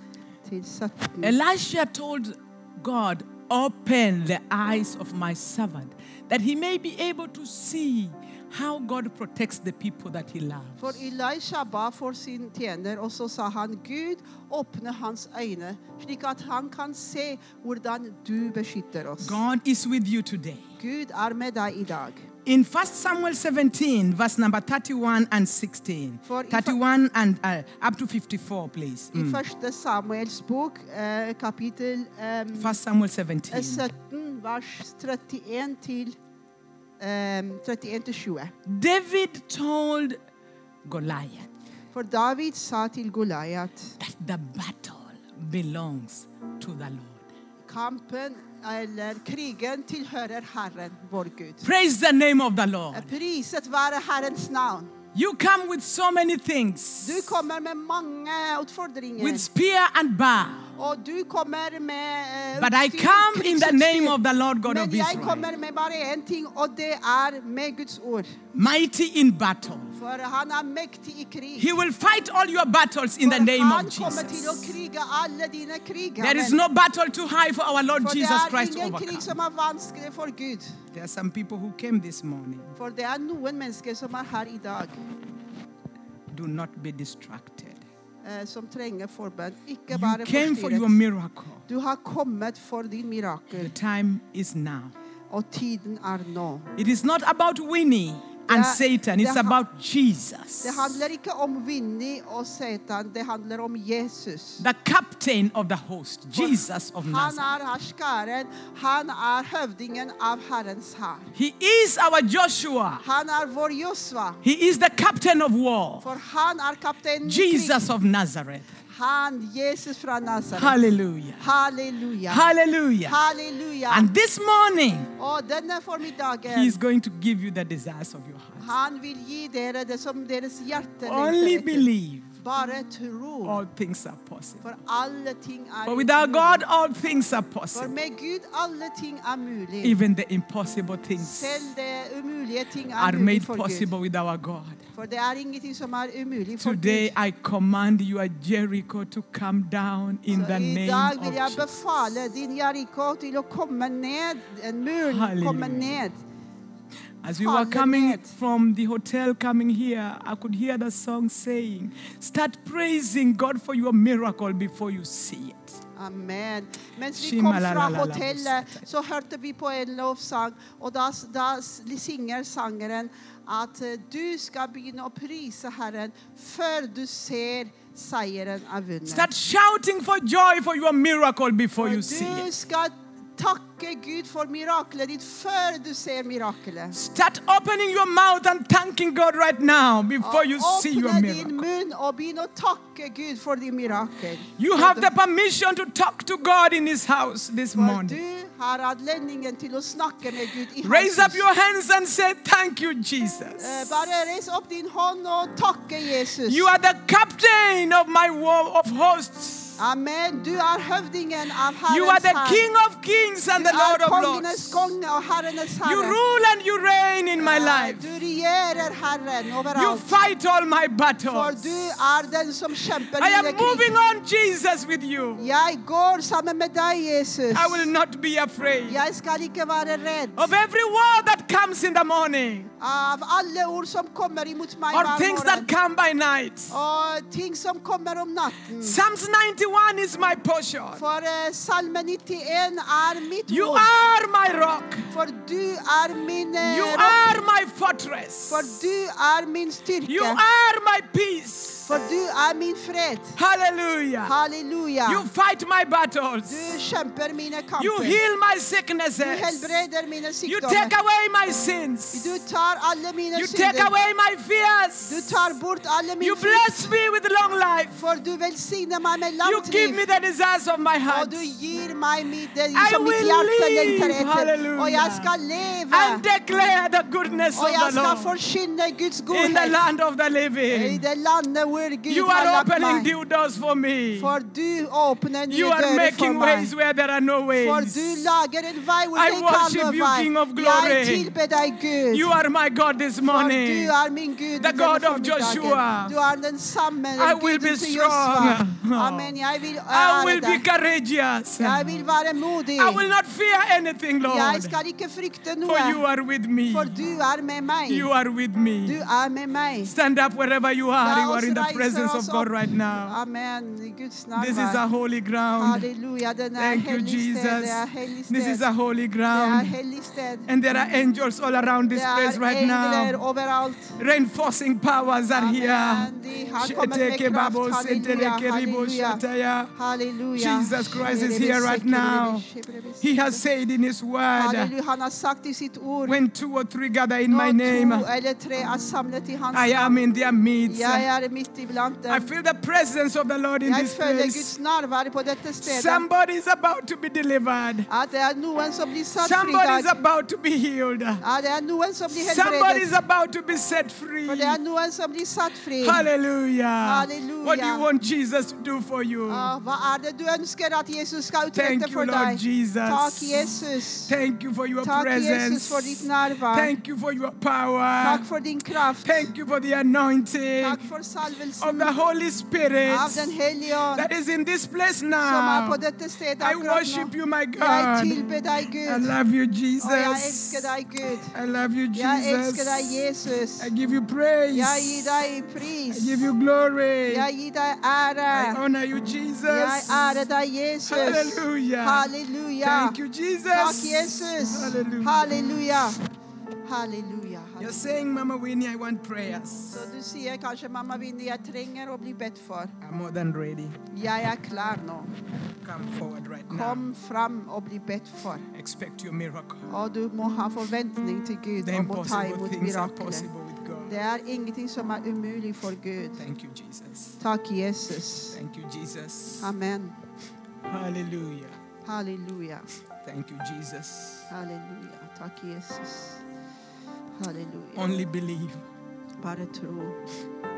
Speaker 2: til 17.
Speaker 1: Elisha told God, Open the eyes of my servant, that he may be able to see how God protects the people that he loves.
Speaker 2: For Elisha ba for sin tjener, og så sa han, Gud, åpne hans øyne, slik at han kan se hvordan du beskytter oss.
Speaker 1: God is with you today.
Speaker 2: Gud er med deg i dag.
Speaker 1: In 1 Samuel 17, verse number 31 and 16.
Speaker 2: For if I-
Speaker 1: 31 and uh, up to 54, please.
Speaker 2: I første Samuels bok, eh, kapittel eh,
Speaker 1: 1 Samuel 17.
Speaker 2: 17, vers 31 til eh, 31 til 20.
Speaker 1: David told Goliath
Speaker 2: For David sa til Goliat
Speaker 1: that the battle belongs to the Lord.
Speaker 2: Kampen eller krigen tilhører Herren, vår Gud.
Speaker 1: Praise the name of the Lord.
Speaker 2: Priset være Herrens navn.
Speaker 1: You come with so many
Speaker 2: Du
Speaker 1: things
Speaker 2: kommer med mange utfordringer.
Speaker 1: with spear and bow.
Speaker 2: Og du kommer med eh,
Speaker 1: But I
Speaker 2: utstyr,
Speaker 1: come in the
Speaker 2: krigsutstyr.
Speaker 1: name of the Lord God of
Speaker 2: Men jeg
Speaker 1: Israel,
Speaker 2: kommer med bare én ting, og det er med Guds ord.
Speaker 1: mighty in battle.
Speaker 2: For han er mektig i krig.
Speaker 1: He will fight all your battles in the
Speaker 2: For
Speaker 1: name
Speaker 2: han
Speaker 1: of
Speaker 2: kommer til å
Speaker 1: Jesus.
Speaker 2: krige alle dine kriger.
Speaker 1: There is
Speaker 2: Amen.
Speaker 1: no battle too high for our Lord
Speaker 2: for
Speaker 1: Jesus
Speaker 2: det er
Speaker 1: Christ to
Speaker 2: ingen krig
Speaker 1: overcome.
Speaker 2: som er vanskelig for Gud.
Speaker 1: There are some people who came this morning.
Speaker 2: For det er noen mennesker som er her i dag,
Speaker 1: Do not be distracted.
Speaker 2: eh, som trenger forbønn. Ikke
Speaker 1: You
Speaker 2: bare
Speaker 1: came for your
Speaker 2: forstyrret.
Speaker 1: miracle.
Speaker 2: Du har kommet for din
Speaker 1: The
Speaker 2: mirakel,
Speaker 1: time is now.
Speaker 2: og tiden er nå.
Speaker 1: It is not about Winnie and
Speaker 2: Det-
Speaker 1: Satan, it's
Speaker 2: det ha-
Speaker 1: about Jesus,
Speaker 2: Det handler ikke om Vinni og Satan, det handler om Jesus.
Speaker 1: the captain of the host, Jesus of
Speaker 2: Han
Speaker 1: Nazareth.
Speaker 2: er herskaren, han er høvdingen av Herrens hær.
Speaker 1: He is our Joshua,
Speaker 2: Han er vår Josva,
Speaker 1: he is the captain of war,
Speaker 2: for han er kapteinen i
Speaker 1: Jesus of Nazareth.
Speaker 2: krig. Han, Jesus fra Nazaret.
Speaker 1: Hallelujah.
Speaker 2: Halleluja.
Speaker 1: Hallelujah.
Speaker 2: Halleluja.
Speaker 1: And this morning,
Speaker 2: Og denne formiddagen,
Speaker 1: He is going to give you the desires of your heart.
Speaker 2: han vil gi dere det som deres hjerte
Speaker 1: Only
Speaker 2: etter.
Speaker 1: believe
Speaker 2: Bare tro,
Speaker 1: all things are possible.
Speaker 2: for alle ting er
Speaker 1: For without
Speaker 2: mulig.
Speaker 1: God, all things are
Speaker 2: For
Speaker 1: possible.
Speaker 2: med Gud alle ting er mulig.
Speaker 1: Even the impossible things
Speaker 2: Selv det umulige ting
Speaker 1: are
Speaker 2: er mulig
Speaker 1: made
Speaker 2: for
Speaker 1: possible
Speaker 2: Gud.
Speaker 1: with our God.
Speaker 2: For det er ingenting som er umulig for
Speaker 1: Today,
Speaker 2: Gud.
Speaker 1: I command your Jericho to come down in
Speaker 2: Så
Speaker 1: the
Speaker 2: I
Speaker 1: name
Speaker 2: dag
Speaker 1: of
Speaker 2: vil jeg
Speaker 1: Jesus.
Speaker 2: befale din Jericho til å komme ned. En mur
Speaker 1: Halleluja.
Speaker 2: komme ned.
Speaker 1: As we were coming
Speaker 2: Hallelujah.
Speaker 1: from the hotel, coming here, I could hear the song saying, Start praising God for your miracle before you see it.
Speaker 2: Amen. Mens vi kom fra
Speaker 1: Shimalalalala.
Speaker 2: hotellet, så hørte vi på en lovsang, og da, da synger sangeren at eh, du skal begynne å prise Herren før du ser seieren er vunnet.
Speaker 1: Start shouting for joy for your miracle before you see
Speaker 2: Du
Speaker 1: it.
Speaker 2: skal takke Gud for mirakelet ditt før du ser mirakelet.
Speaker 1: Start opening your mouth and thanking God right now before
Speaker 2: Oh,
Speaker 1: you see your
Speaker 2: Åpne din
Speaker 1: miracle.
Speaker 2: munn og begynn å takke Gud for din mirakel.
Speaker 1: You have the permission to talk to God in His house this
Speaker 2: For
Speaker 1: morning.
Speaker 2: du har anledningen til å snakke med Gud i
Speaker 1: Raise up
Speaker 2: hans hus.
Speaker 1: your hands and say, Thank you,
Speaker 2: Eh,
Speaker 1: Jesus.
Speaker 2: Bare reis opp din hånd og takke Jesus.
Speaker 1: You are the captain of my war of hosts.
Speaker 2: Amen. Du er høvdingen av Herrens
Speaker 1: You are the
Speaker 2: hær.
Speaker 1: King of kings and the
Speaker 2: Du er
Speaker 1: Lord of
Speaker 2: kongenes
Speaker 1: lords.
Speaker 2: konge og Herrenes
Speaker 1: You
Speaker 2: herre. Eh,
Speaker 1: rule and you reign in my life.
Speaker 2: Du regjerer Herren
Speaker 1: You
Speaker 2: overalt.
Speaker 1: fight all my
Speaker 2: For
Speaker 1: battles.
Speaker 2: du er den som
Speaker 1: I
Speaker 2: kjemper i
Speaker 1: am
Speaker 2: det krig.
Speaker 1: moving on, Jesus, with you.
Speaker 2: Jeg går sammen med deg, Jesus.
Speaker 1: I will not be afraid
Speaker 2: Jeg skal ikke være redd
Speaker 1: of every word that comes in the morning
Speaker 2: av alle ord som kommer imot meg
Speaker 1: or
Speaker 2: hver
Speaker 1: things that
Speaker 2: morgen.
Speaker 1: come by night.
Speaker 2: Og ting som kommer om natten.
Speaker 1: Psalms 91 is my portion.
Speaker 2: For eh, Salme 91 er mitt
Speaker 1: You
Speaker 2: ord.
Speaker 1: are my rock.
Speaker 2: For du er min eh,
Speaker 1: You
Speaker 2: rock.
Speaker 1: are my fortress.
Speaker 2: For du er min
Speaker 1: You
Speaker 2: styrke.
Speaker 1: are my peace.
Speaker 2: For du er min fred.
Speaker 1: Hallelujah.
Speaker 2: Halleluja.
Speaker 1: You fight my
Speaker 2: Du
Speaker 1: battles.
Speaker 2: kjemper mine
Speaker 1: You
Speaker 2: kamper.
Speaker 1: heal my
Speaker 2: Du
Speaker 1: sicknesses.
Speaker 2: helbreder mine
Speaker 1: You take
Speaker 2: sykdommer.
Speaker 1: away my sins.
Speaker 2: Du tar alle mine
Speaker 1: You take
Speaker 2: synder.
Speaker 1: away my
Speaker 2: Du
Speaker 1: fears.
Speaker 2: tar bort alle
Speaker 1: You
Speaker 2: mine frykt.
Speaker 1: bless me with long life.
Speaker 2: For du velsigner meg med
Speaker 1: You
Speaker 2: langt
Speaker 1: give
Speaker 2: liv.
Speaker 1: me the desires of my
Speaker 2: Og
Speaker 1: heart.
Speaker 2: du gir meg mitt- det
Speaker 1: I
Speaker 2: som mitt
Speaker 1: will
Speaker 2: hjerte
Speaker 1: live.
Speaker 2: lengter etter. Og jeg
Speaker 1: Halleluja.
Speaker 2: skal leve.
Speaker 1: and declare the goodness
Speaker 2: Og jeg
Speaker 1: of the
Speaker 2: skal
Speaker 1: Lord
Speaker 2: forkynne Guds
Speaker 1: in the
Speaker 2: godhet
Speaker 1: land of the
Speaker 2: i
Speaker 1: living.
Speaker 2: det landet hvor Gud
Speaker 1: You
Speaker 2: har
Speaker 1: are
Speaker 2: lagt
Speaker 1: opening
Speaker 2: meg.
Speaker 1: new doors for me.
Speaker 2: For du åpner
Speaker 1: You
Speaker 2: nye
Speaker 1: are
Speaker 2: dører for
Speaker 1: making
Speaker 2: meg.
Speaker 1: ways where there are no
Speaker 2: For du
Speaker 1: ways.
Speaker 2: lager en vei hvor
Speaker 1: I
Speaker 2: det ikke
Speaker 1: worship
Speaker 2: er
Speaker 1: you, King
Speaker 2: noen
Speaker 1: of
Speaker 2: vei. Jeg
Speaker 1: glory.
Speaker 2: tilber deg, Gud.
Speaker 1: You are my God this
Speaker 2: for du
Speaker 1: morning.
Speaker 2: er min Gud.
Speaker 1: The
Speaker 2: denne
Speaker 1: God of
Speaker 2: formiddagen.
Speaker 1: Joshua.
Speaker 2: Du er den samme
Speaker 1: I will
Speaker 2: Guden
Speaker 1: be
Speaker 2: til
Speaker 1: strong.
Speaker 2: Joshua. Amen. Jeg vil
Speaker 1: I
Speaker 2: ære
Speaker 1: will be
Speaker 2: deg.
Speaker 1: courageous.
Speaker 2: Jeg
Speaker 1: I
Speaker 2: vil være modig.
Speaker 1: will not fear anything,
Speaker 2: Jeg
Speaker 1: Lord.
Speaker 2: skal ikke frykte
Speaker 1: For
Speaker 2: noe,
Speaker 1: you are with me.
Speaker 2: for du er med meg.
Speaker 1: You are with
Speaker 2: Du
Speaker 1: me.
Speaker 2: er med meg.
Speaker 1: Stand up wherever you are.
Speaker 2: La
Speaker 1: You are
Speaker 2: oss
Speaker 1: in the
Speaker 2: reiser
Speaker 1: presence
Speaker 2: oss
Speaker 1: of God
Speaker 2: opp.
Speaker 1: right now.
Speaker 2: Amen. I Guds
Speaker 1: This is a
Speaker 2: nærvær.
Speaker 1: holy ground.
Speaker 2: Halleluja. Den er
Speaker 1: Thank you,
Speaker 2: hellig sted.
Speaker 1: Jesus.
Speaker 2: Det er hellig sted.
Speaker 1: This is a holy
Speaker 2: det er
Speaker 1: ground.
Speaker 2: hellig sted.
Speaker 1: And there are angels all around this
Speaker 2: Det
Speaker 1: place
Speaker 2: er
Speaker 1: right
Speaker 2: engler
Speaker 1: now.
Speaker 2: overalt.
Speaker 1: Reinforcing powers are here.
Speaker 2: Amen. De har kommet med
Speaker 1: Sheteke
Speaker 2: kraft.
Speaker 1: babo
Speaker 2: Halleluja.
Speaker 1: setele keribo
Speaker 2: Halleluja.
Speaker 1: shataya.
Speaker 2: Halleluja.
Speaker 1: Jesus Christ is here right now. He has said in His word,
Speaker 2: Halleluja. Han har sagt i sitt ord
Speaker 1: when two or three gather in
Speaker 2: Når
Speaker 1: my name,
Speaker 2: to eller tre er samlet i hans
Speaker 1: I am in their midst.
Speaker 2: Jeg er midt iblant
Speaker 1: I
Speaker 2: dem.
Speaker 1: feel the presence of the Lord in
Speaker 2: Jeg
Speaker 1: this
Speaker 2: føler
Speaker 1: place.
Speaker 2: Guds nærvær på dette stedet.
Speaker 1: Somebody is about to be delivered.
Speaker 2: At det er noen som blir satt fri
Speaker 1: Somebody is
Speaker 2: der.
Speaker 1: about to be healed.
Speaker 2: At det er noen som blir
Speaker 1: Somebody is
Speaker 2: helbredet.
Speaker 1: about to be set free.
Speaker 2: For det er noen som blir satt fri.
Speaker 1: Hallelujah. What do you
Speaker 2: Hallelujah.
Speaker 1: want Jesus to do for you?
Speaker 2: Ah, hva er det du ønsker at Jesus skal
Speaker 1: Thank
Speaker 2: utrette
Speaker 1: you,
Speaker 2: for
Speaker 1: Lord
Speaker 2: deg?
Speaker 1: Jesus.
Speaker 2: Takk, Jesus.
Speaker 1: Thank you for your
Speaker 2: Takk, Jesus,
Speaker 1: presence.
Speaker 2: for ditt nærvær.
Speaker 1: Thank you for your power.
Speaker 2: Takk for din kraft.
Speaker 1: Thank you for the anointing
Speaker 2: Takk for
Speaker 1: of
Speaker 2: salvelsen
Speaker 1: the Holy Spirit
Speaker 2: av Den hellige ånd
Speaker 1: that is in this place
Speaker 2: som er
Speaker 1: now.
Speaker 2: på dette stedet
Speaker 1: I Oh,
Speaker 2: akkurat
Speaker 1: worship
Speaker 2: nå.
Speaker 1: you, my
Speaker 2: Jeg
Speaker 1: God.
Speaker 2: tilber deg,
Speaker 1: I
Speaker 2: Gud.
Speaker 1: love you,
Speaker 2: Og jeg elsker
Speaker 1: Jesus.
Speaker 2: deg, Gud.
Speaker 1: I love you,
Speaker 2: Jeg elsker deg,
Speaker 1: Jesus.
Speaker 2: Jesus.
Speaker 1: I give you praise.
Speaker 2: Jeg
Speaker 1: I
Speaker 2: gir deg pris.
Speaker 1: give you glory.
Speaker 2: Jeg gir deg ære.
Speaker 1: I honor you,
Speaker 2: Jeg
Speaker 1: Jesus.
Speaker 2: ærer deg, Jesus.
Speaker 1: Hallelujah.
Speaker 2: Halleluja.
Speaker 1: Thank you, Jesus.
Speaker 2: Takk, Jesus.
Speaker 1: Hallelujah.
Speaker 2: Halleluja. Halleluja.
Speaker 1: You're saying, Mama Winnie, I want prayers.
Speaker 2: Så du sier kanskje, mamma Vinni, jeg trenger å bli bedt for.
Speaker 1: I'm more than ready.
Speaker 2: Jeg er klar nå.
Speaker 1: Come forward right now.
Speaker 2: Kom fram og bli bedt for.
Speaker 1: Expect your miracle.
Speaker 2: Og du må ha forventning til Gud
Speaker 1: The
Speaker 2: om å ta
Speaker 1: impossible
Speaker 2: imot
Speaker 1: things are
Speaker 2: miraklet.
Speaker 1: possible with God.
Speaker 2: Det er ingenting som er umulig for Gud.
Speaker 1: Thank you, Jesus.
Speaker 2: Takk, Jesus.
Speaker 1: Thank you, Jesus.
Speaker 2: Amen.
Speaker 1: Hallelujah.
Speaker 2: Halleluja.
Speaker 1: Thank you, Jesus.
Speaker 2: Halleluja. Takk, Jesus. Halleluja.
Speaker 1: Only believe.
Speaker 2: Bare tro.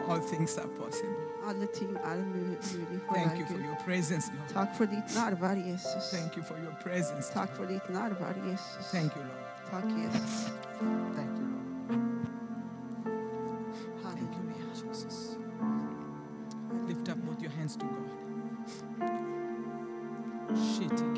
Speaker 1: All things are possible.
Speaker 2: Alle ting er mu- mulig for
Speaker 1: Thank
Speaker 2: deg,
Speaker 1: you for
Speaker 2: Gud.
Speaker 1: your presence, Lord.
Speaker 2: Takk for ditt nærvær, Jesus.
Speaker 1: Thank you for your presence.
Speaker 2: Takk for ditt nærvær, Jesus.
Speaker 1: Thank you, Lord.
Speaker 2: Takk, Jesus.
Speaker 1: Thank you, Lord. Thank you,
Speaker 2: Halleluja.
Speaker 1: Lord Jesus. Lift up both your hands to God. Shitty